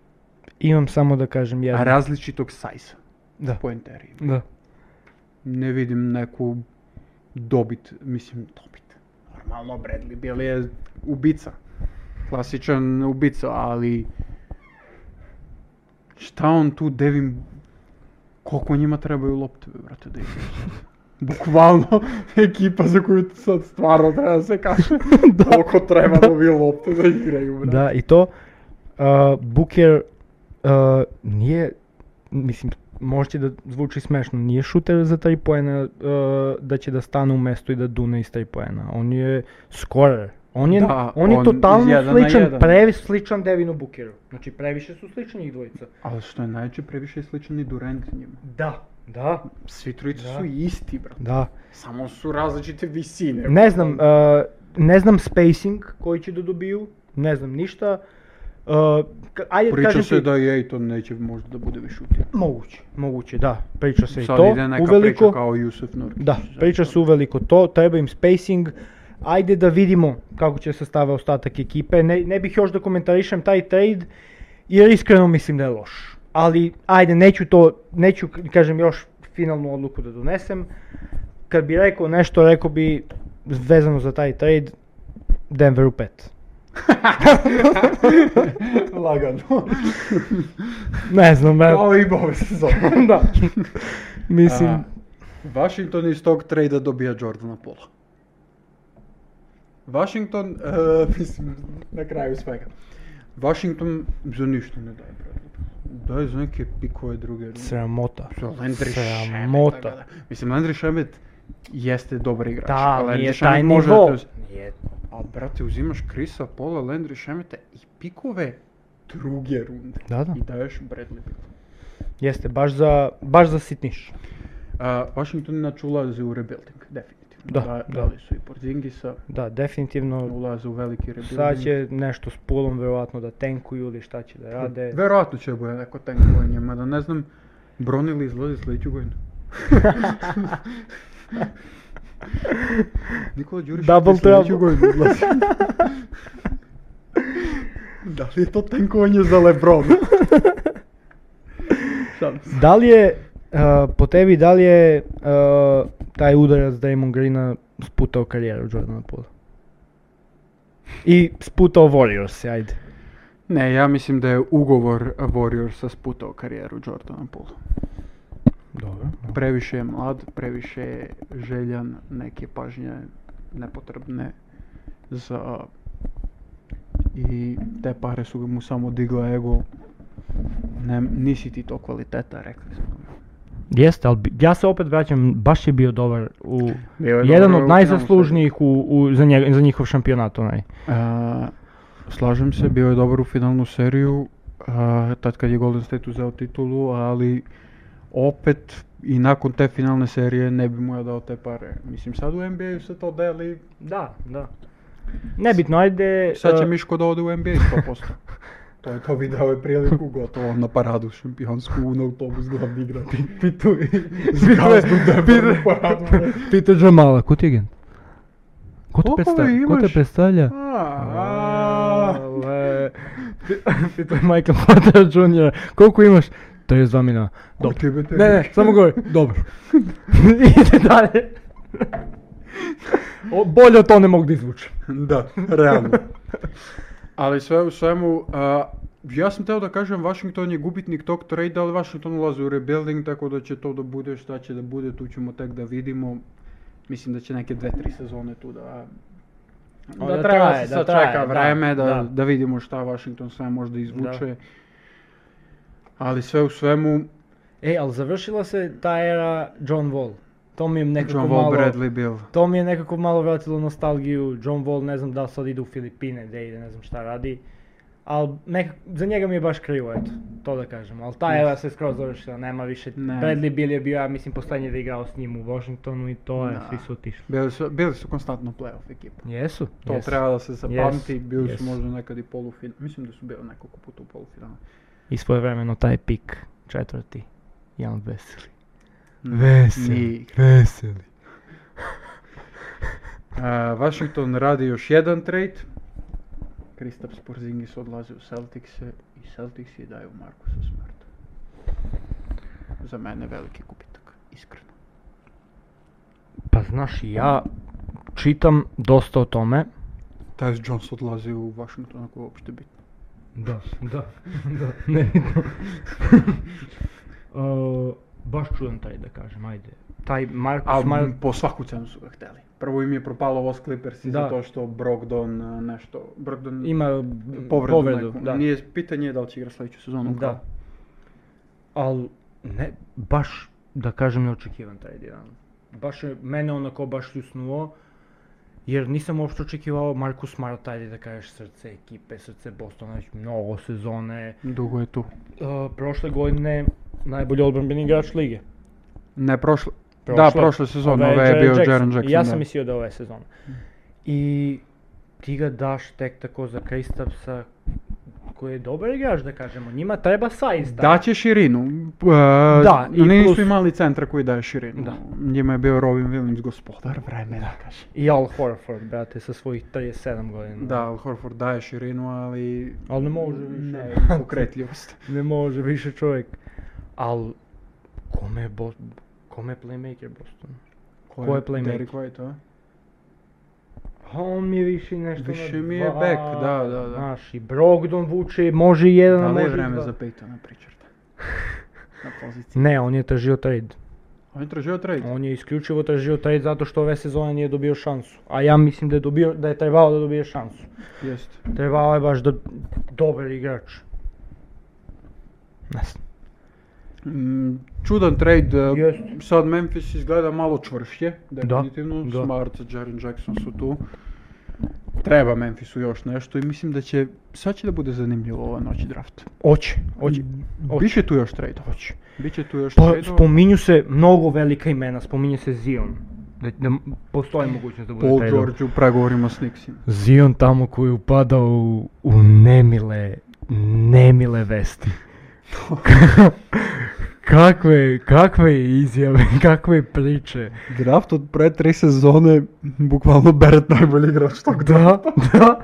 B: Imam samo da kažem
A: A
B: jedno.
A: različitog sajza.
B: Da.
A: Poenteri. imaju.
B: Da.
A: Ne vidim neku dobit, mislim dobit. Normalno Bradley Beal je ubica. Klasičan ubica, ali šta on tu Devin koliko njima trebaju lopte, bre, brate, da igraju sad? Bukvalno ekipa za koju sad stvarno treba da se kaže koliko treba dobi lopte da igraju, brate.
B: Da, i to, a, Booker a, nije, mislim, možete da zvuči smešno, nije šuter za 3 poena a, da će da stane u mesto i da dune iz 3 poena. On je scorer, On je,
A: Da,
B: on je
A: on
B: totalno
C: jedan na
B: sličan,
C: jedan.
B: previ sličan Devinu Bukeru. Znači previše su slični njih dvojica.
A: Ali što je najče, previše je sličan i Durant njima.
B: Da, da,
A: Svi trojica
B: Da.
A: su isti, brate.
B: da.
A: Samo su različite visine.
B: Ne znam, e, ne znam spacing koji će da dobiju, ne znam ništa. E, ka- ajde da
A: Priča
B: kažem
A: se
B: ti,
A: da je i to neće možda da bude više u timu.
B: moguće, moguće, da, priča se i
A: Sad
B: to,
A: ide neka
B: uveliko,
A: priča kao Jusuf Nurkić.
B: da, priča se uveliko to, treba im spacing, ajde da vidimo kako će se stave ostatak ekipe, ne, ne bih još da komentarišem taj trade, jer iskreno mislim da je loš, ali ajde, neću to, neću, kažem, još finalnu odluku da donesem, kad bi rekao nešto, rekao bi, vezano za taj trade, Denveru 5.
A: Lagano.
B: Ne znam, brate.
A: Kao i Bob sezon.
B: da. Mislim,
A: A, Washington iz tog trejda dobija Jordana Pola. Washington, e, mislim, na kraju svega. Washington za ništa ne daje predlog. Daje za neke pikove druge. runde.
B: sramota.
A: Za Landry Shamet, tako da.
B: Sramota.
A: Mislim, Landry Shamet jeste dobar igrač. ali
B: Da,
A: Landry
B: nije
A: Shamet
B: taj
A: može da
B: nivo.
A: te uz- Ali, brate, uzimaš Krisa, Pola, Landry Shameta i pikove druge runde.
B: Da, da.
A: I daješ Bradley Beal.
B: Jeste, baš za, baš za sitniš.
A: A, Washington inače ulazi u rebuilding, definitivno.
B: Da, da.
A: Dali su i Porzingisa,
B: Da, definitivno.
A: ulaze u veliki rebuilding.
B: Sad će nešto s pulom verovatno da tenkuju ili šta će da rade.
A: Verovatno će bude neko tankovanje, mada ne znam, Bronili izlazi sledeću godinu. Nikola Đurišić
B: Double
A: je sledeću
B: trouble.
A: godinu izlazi. da li je to tankovanje za Lebron? Šalim se.
B: Da li je, uh, po tebi, da li je uh, taj udarac Damon Greena sputao karijeru Jordana Pula? I sputao Warriors, ajde.
A: Ne, ja mislim da je ugovor Warriorsa sputao karijeru Jordana Poole.
B: Dobro.
A: Previše je mlad, previše je željan neke pažnje nepotrebne za... I te pare su mu samo digla ego. Ne, nisi ti to kvaliteta, rekli smo.
B: Jeste, ali bi- ja se opet vraćam, baš je bio dobar u...
A: Bio je
B: jedan
A: dobar u
B: od
A: finalu,
B: najzaslužnijih u, u, za, njega, za njihov šampionat onaj.
A: A, slažem se, bio je dobar u finalnu seriju, a, tad kad je Golden State uzeo titulu, ali opet i nakon te finalne serije ne bi mu ja dao te pare. Mislim, sad u NBA se to deli,
B: Da, da. Nebitno, ajde...
A: sad će
B: e,
A: Miško da ode u NBA 100%. to je to video je priliku gotovo na paradu šampionsku na autobus glavni igrač.
B: Pitu...
A: Zgazdu Denveru paradu.
B: Pitu Jamala, ko ti je agent? Ko te
A: Koliko
B: predstavlja?
A: vi
B: Ko te
A: imaš?
B: predstavlja?
A: A,
B: Ale, Pitu Michael Porter Jr. Koliko imaš? 32 miliona. Dobro.
A: Koliko je BTV?
B: Ne, ne, samo govori. Dobro. Ide dalje. O, bolje od to ne mogu da izvučem.
A: Da, realno. ali sve u svemu, a, ja sam teo da kažem, Washington je gubitnik tog trade, ali Washington ulazi u rebuilding, tako da će to da bude šta će da bude, tu ćemo tek da vidimo. Mislim da će neke dve, tri sezone tu da...
B: Da
A: Da, treba
B: traje,
A: se
B: da
A: sad
B: traje,
A: čeka
B: da,
A: vreme, da,
B: da.
A: da. vidimo šta Washington sve možda izvuče. Ali sve u svemu,
B: E, ali završila se ta era John Wall. To mi je nekako
A: John
B: malo...
A: Wall, Bradley Bill.
B: To mi je nekako malo vratilo nostalgiju. John Wall, ne znam da li sad ide u Filipine, da ide, ne znam šta radi. Ali nekak, za njega mi je baš krivo, eto, to da kažem. Ali ta era se skroz završila, nema više.
A: Ne.
B: Bradley Bill je bio, ja mislim, poslednji da je igrao s njim u Washingtonu i to je,
A: Da.
B: svi su otišli.
A: Bili su, bili su konstantno playoff ekipa.
B: Jesu,
A: To treba da se zapamti, bili su
B: yes.
A: možda nekad i polufinalu, mislim da su bili nekoliko puta u polufinalu.
B: I svoje vremeno taj pik, četvrti, Jan Veseli.
A: Ni-
B: veseli.
A: A, E, Washington radi još jedan trade. Kristaps Porzingis odlazi u Celticse i Celtics je daju Markusa Smarta. Za mene veliki gubitak, iskreno.
B: Pa znaš, ja čitam dosta o tome.
A: Taj Jones odlazi u Washington ako je uopšte bitno.
B: Da, da, da, ne. uh, baš čudan taj da kažem, ajde. Taj Marcus
A: A
B: Mar...
A: m, po svaku cenu su ga hteli. Prvo im je propalo ovo s Clippers i
B: Da.
A: zato što Brogdon a, nešto... Brogdon
B: ima
A: povredu,
B: povredu,
A: neku.
B: da.
A: Nije, pitanje je da li će igra sledeću sezonu.
B: Da. Al, ne, baš ono. da kažem neočekivan taj jedan. Baš je mene onako baš ljusnuo. Jer nisam uopšte očekivao Marku Smart, ajde da kažeš srce ekipe, srce Bostona, već mnogo sezone.
A: Dugo je tu.
B: Uh, prošle godine najbolji odbranbeni igrač lige.
A: Ne, prošle.
B: Prošle.
A: Da, prošle sezone, ove je bio Jaron Jackson.
B: Ovaj Ja
A: da.
B: sam mislio da ove sezone. I ti ga daš tek tako za Kristapsa, koji je dobar igrač da kažemo, njima treba size
A: Da će širinu. E, da,
B: i
A: nisu
B: plus-
A: imali centra koji daje širinu.
B: Da.
A: Njima je bio Robin Williams gospodar vremena, kaže.
B: I Al Horford, brate, sa svojih 37 godina.
A: Da, Al Horford daje širinu, ali
B: Ali ne može više.
A: ne, pokretljivost.
B: ne može više čovjek. Al, kome je, Bo... kome je playmaker Bostona? Ko je playmaker?
A: Derrick White, a?
B: A Pa on mi je više nešto
A: Više
B: na
A: mi je
B: dva,
A: back, da, da, da.
B: Znaš, i Brogdon vuče, može i jedan, a
A: Da li
B: može
A: je
B: i
A: vreme
B: dva.
A: za Peytona Pritcharda? Na poziciji.
B: Ne, on je tražio trade.
A: On je tražio trade.
B: On je isključivo tražio trade zato što ove sezone nije dobio šansu. A ja mislim da je, dobio, da je trebao da dobije šansu.
A: Jeste.
B: Trebao je baš da... Dobar igrač. Ne znam.
A: Mm, Čudan trade, e,
B: Jeste.
A: sad Memphis izgleda malo čvršće, definitivno,
B: da.
A: Smart, Jaren Jackson su tu. Treba Memphisu još nešto i mislim da će, sad će da bude zanimljivo ova noć draft.
B: Oće, oće. Oće.
A: Biće tu još trade, hoće. Biće tu još
B: Pa,
A: trade.
B: spominju se mnogo velika imena, spominje se Zion. Da, da m- postoji mogućnost da bude
A: Paul
B: tradeovan.
A: George u pregovorima s Nixim.
B: Zion tamo koji upada u, u nemile, nemile vesti. kakve, kakve izjave, kakve priče.
A: Draft od pre tri sezone, bukvalno Barrett najbolji igrač tog
B: Da, da.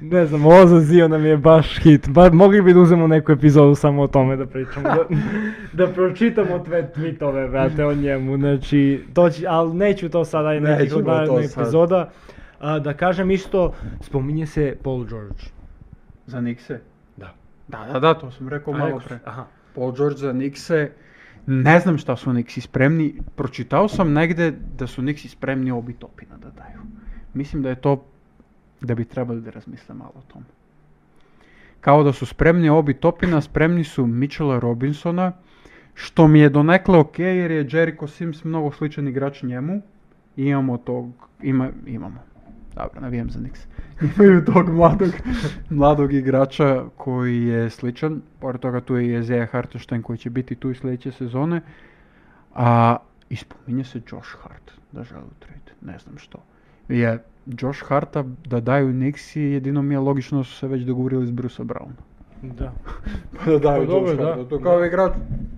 B: Ne znam, ovo za Ziona mi je baš hit. Ba, mogli bi da uzmemo neku epizodu samo o tome da pričamo. Da, da pročitamo tve tweetove, brate, o njemu. Znači, to će, ali neću to sada i nekih
A: Nećemo
B: od
A: to
B: narednih
A: sad.
B: epizoda. A, da kažem isto, spominje se Paul George.
A: Za Nixe?
B: Da.
A: Da, da, da, to sam rekao malo pre.
B: Aha.
A: Paul George za Nikse, ne znam šta su Nixi spremni, pročitao sam negde da su Nixi spremni obi topina da daju. Mislim da je to, da bi trebali da razmisle malo o tom. Kao da su spremni obi topina, spremni su Mitchella Robinsona, što mi je donekle ok jer je Jericho Sims mnogo sličan igrač njemu. Imamo tog, ima, imamo. Dobro, navijem za Nix. Imaju tog mladog, mladog igrača koji je sličan. Pored toga tu je i Ezeja Hartenstein koji će biti tu i sljedeće sezone. A ispominje se Josh Hart da želi u trade. Ne znam što. Je Josh Harta da daju Nixi jedino mi je logično su se već dogovorili s Brusa Browna.
B: Da.
A: Pa da daju
B: Pa dobro,
A: Josh
B: da.
A: Harta. To kao igrač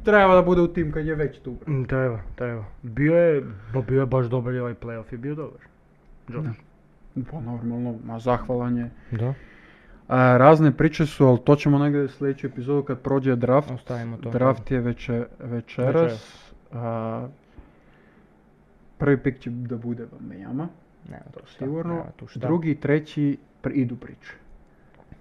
A: treba da bude u tim kad je već tu.
B: Mm, Treba, treba. Bio je, ba, bio je baš dobar i ovaj playoff je bio dobar. George.
A: Pa normalno, ma zahvalan je.
B: Da.
A: A, razne priče su, ali to ćemo negdje u sljedeću epizodu kad prođe draft.
B: Ostavimo to.
A: Draft je veče, večeras.
B: Večeras.
A: A, prvi pik će da bude Vamejama,
B: Nema tu šta,
A: sigurno.
B: nema tu šta.
A: Drugi i treći pr- idu priče.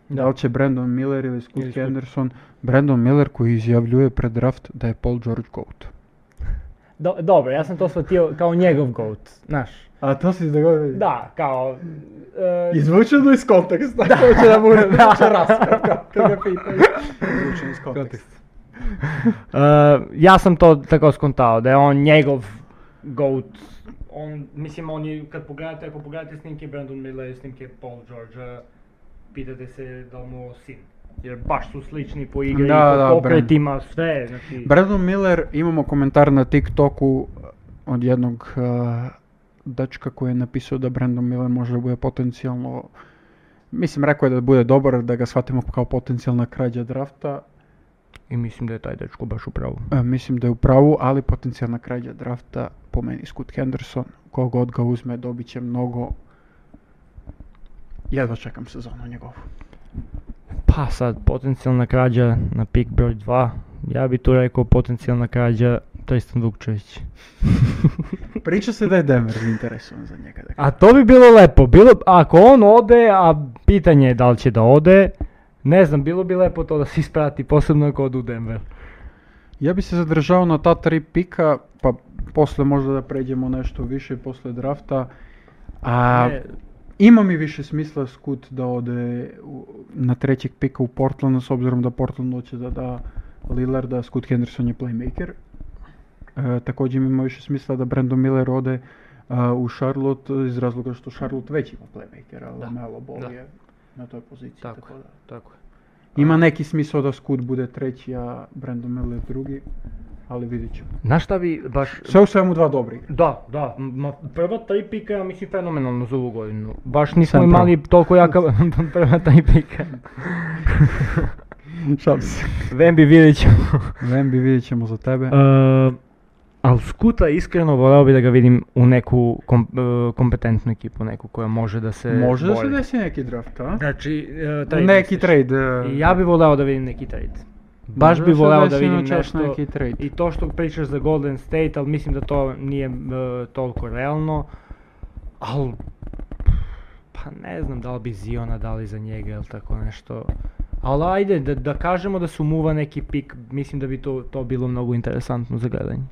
B: Da.
A: Da li će Brandon Miller ili Scott
B: Ili Scott.
A: Henderson, Brandon Miller koji izjavljuje pred draft da je Paul George GOAT.
B: Do- dobro, ja sam to shvatio kao njegov goat, znaš.
A: A to si dogodio?
B: Da, kao... e,
A: Izvučeno iz konteksta, da. to će da bude da. raskad kad ga pitaju. Izvučeno iz konteksta.
B: e, ja sam to tako skontao, da je on njegov goat. On, mislim, on je, kad pogledate, ako pogledate snimke Brandon Miller i snimke Paul George, pitate se da li mu ovo sin. Jer baš su slični po igri,
A: Da,
B: po
A: da,
B: pokretima, sve, znači...
A: Brandon Miller, imamo komentar na TikToku eh, od jednog uh, dečka koji je napisao da Brandon Miller može da bude potencijalno Mislim, rekao je da bude dobar, da ga shvatimo kao potencijalna krađa drafta.
B: I mislim da je taj dečko baš u pravu.
A: E, mislim da je u pravu, ali potencijalna krađa drafta, po meni Scoot Henderson, kogod ga uzme, dobit će mnogo. Jedva čekam sezonu njegovu.
B: Pa sad, potencijalna krađa na pik broj 2, ja bi tu rekao potencijalna krađa Tristan Vukčević.
A: Priča se da je Denver interesovan za njega. Da
B: A to bi bilo lepo, bilo, ako on ode, a pitanje je da li će da ode, ne znam, bilo bi lepo to da se isprati, posebno ako odu u Denver.
A: Ja bi se zadržao na ta tri pika, pa posle možda da pređemo nešto više posle drafta. A,
B: Ne,
A: ima mi više smisla Scoot da ode u- na trećeg pika u Portland, s obzirom da Portland hoće da da Lillarda, Scoot Henderson je playmaker. Е, Такоđe E, mi imao više smisla da Brandon Miller ode a, u Charlotte iz razloga što Charlotte već ima playmakera, ali
B: Da.
A: Melo Ball
B: Da.
A: je na toj poziciji.
B: Tako
A: Tako.
B: je.
A: da.
B: Tako je.
A: Ima neki smisao da Scoot bude treći, a Brandon Miller drugi, ali vidjet ćemo.
B: Znaš šta bi baš...
A: Sve u svemu dva dobri igra.
B: Da, da, ma prva tri pika ja mislim fenomenalno za ovu godinu. Baš nismo
A: Sam
B: imali toliko jaka prva tri pika.
A: Šalim se.
B: Vem bi vidjet ćemo.
A: Vembi vidjet ćemo za tebe.
B: Uh, ali Skuta iskreno voleo bi da ga vidim u neku kom, e, kompetentnu ekipu, neku koja može da se
A: Može da se
B: bori.
A: desi neki draft, a?
B: Znači, e, trade
A: Neki
B: misliš?
A: trade. e,
B: I ja bi voleo da vidim neki trade. Baš
A: Može
B: bi
A: da se
B: voleo da
A: desi
B: vidim
A: noćas
B: nešto.
A: neki trade.
B: I to što pričaš za Golden State, ali mislim da to nije e, toliko realno. Al, pa ne znam da li bi Ziona dali za njega ili tako nešto. Ali ajde, da, da kažemo da su muva neki pik, mislim da bi to, to bilo mnogo interesantno za gledanje.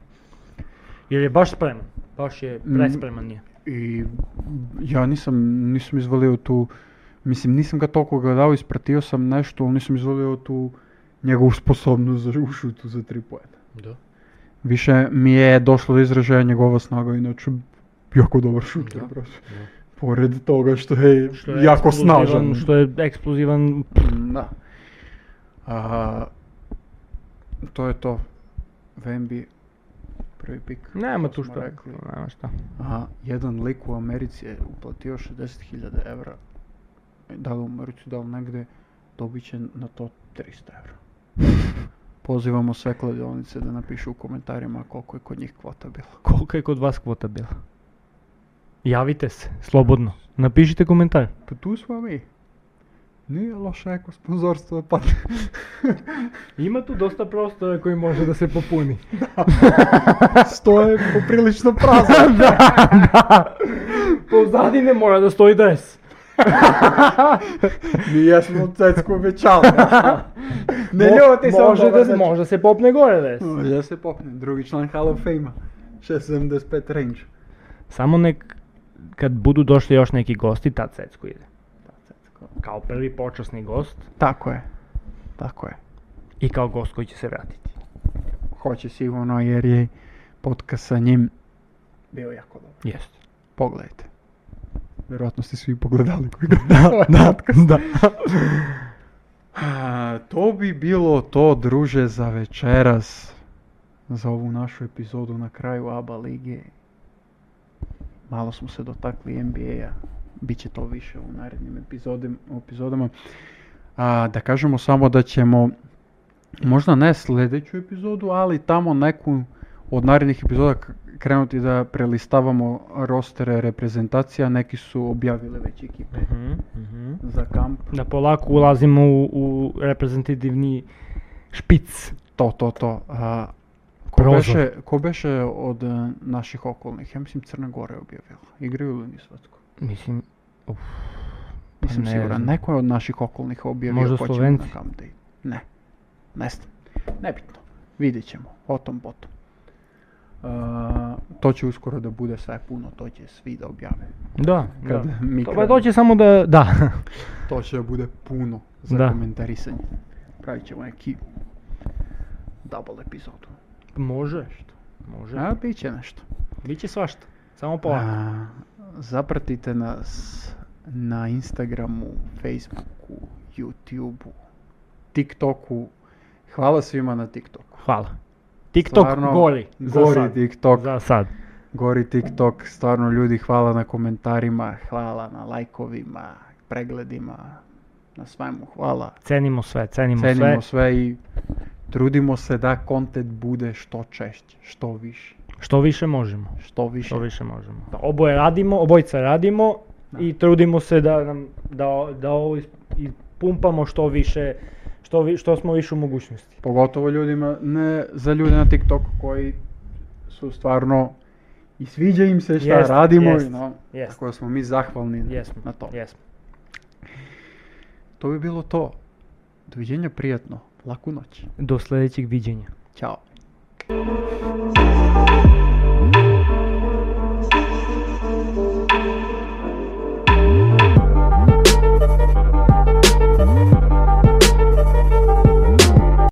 B: Jer je baš spreman, baš je
A: Mm.
B: prespreman je.
A: I ja nisam, nisam izvalio tu, mislim nisam ga toliko gledao, ispratio sam nešto, ali nisam izvalio tu njegovu sposobnost za u šutu za tri poena.
B: Da.
A: Više mi je došlo do izražaja njegova snaga, inače jako dobar šuter,
B: Da,
A: brate. Pored toga što je, jako
B: eksplozivan,
A: snažan.
B: Što je eksplozivan,
A: Da. A, to je to. Vembi, prvi pik.
B: nema
A: to
B: tu
A: smo
B: što,
A: rekli.
B: nema šta.
A: A jedan lik u Americi je uplatio 60.000 evra, da li u Americi, da li negde, dobit će na to 300 evra. Pozivamo sve kladionice da napišu u komentarima koliko je kod njih kvota bila.
B: Kolika je kod vas kvota bila? Javite se, slobodno. Napišite komentar.
A: Pa tu smo mi. Nije loše ako sponzorstvo pa- padne.
B: Ima tu dosta prostora koji može da se popuni.
A: Stoje poprilično prazno.
B: da, da. Pozadi ne mora da stoji dres.
A: Mi jesmo od cecku obećali. Ne
B: Mo-
A: ljuti se znači-
B: može da, se- može da se popne gore dres.
A: Da se popne, drugi član Hall of Fame-a. 675 range.
B: Samo nek, kad budu došli još neki gosti, tad secko ide. Kao prvi počasni gost
A: Tako je. Tako je.
B: i kao gost koji će se vratiti.
A: Hoće sigurno jer je podcast sa njim bio jako dobar.
B: Jeste.
A: Pogledajte. Vjerojatno ste svi pogledali koji da, da, da. A, to bi bilo to, druže, za večeras. Za ovu našu epizodu na kraju ABA lige. Malo smo se dotakli NBA-a. Biće to više u narednim epizodem- epizodama. A, da kažemo samo da ćemo možda ne sljedeću epizodu, ali tamo neku od narednih epizoda k- krenuti da prelistavamo rostere reprezentacija. Neki su objavile već ekipe za kamp.
B: Da polako ulazimo u, u reprezentativni špic.
A: To, to, to. A, ko,
B: Prozor.
A: beše, ko beše od e, naših okolnih? Ja mislim Crna Gora je objavila. Igraju li oni svatko?
B: Mislim, uf, pa
A: Nisam
B: ne
A: siguran.
B: znam.
A: Neko je od naših okolnih objavio
B: Možda
A: ko će na
B: Slovenci?
A: kamp da ide. Ne. Ne znam. Nebitno. Vidjet ćemo. O tom potom. A, to će uskoro da bude sve puno. To će svi da objave.
B: Da,
A: Kad
B: da.
A: mi
B: To, pa
A: krenemo.
B: doće samo da, da.
A: To će da bude puno za
B: Da.
A: komentarisanje. Pravit ćemo neki double epizodu.
B: Može. Što? Može.
A: A, bit će nešto.
B: Biće svašta. Samo polako.
A: A, zapratite nas na Instagramu, Facebooku, YouTubeu, TikToku. Hvala svima na TikToku.
B: Hvala. TikTok
A: Stvarno,
B: gori. za
A: Gori
B: sad.
A: TikTok.
B: Za sad.
A: Gori TikTok. Stvarno ljudi, hvala na komentarima, hvala na lajkovima, pregledima, na svemu hvala.
B: Cenimo sve, cenimo,
A: Cenimo
B: sve.
A: sve i trudimo se da kontent bude što češće, što više,
B: Što više možemo.
A: što više.
B: Što više možemo. Da, oboje radimo, obojica radimo
A: Da.
B: i trudimo se da nam da, da ovo is- ispumpamo što više što, vi, što smo više u mogućnosti.
A: Pogotovo ljudima, ne za ljude na TikToku koji su stvarno i sviđa im se šta
B: Jest,
A: radimo. i
B: jest,
A: no,
B: jest.
A: Tako da smo mi zahvalni
B: Jesmo.
A: na to.
B: Jesmo.
A: To bi bilo to. Doviđenja prijatno. Laku noć.
B: Do sljedećeg viđenja.
A: Ćao.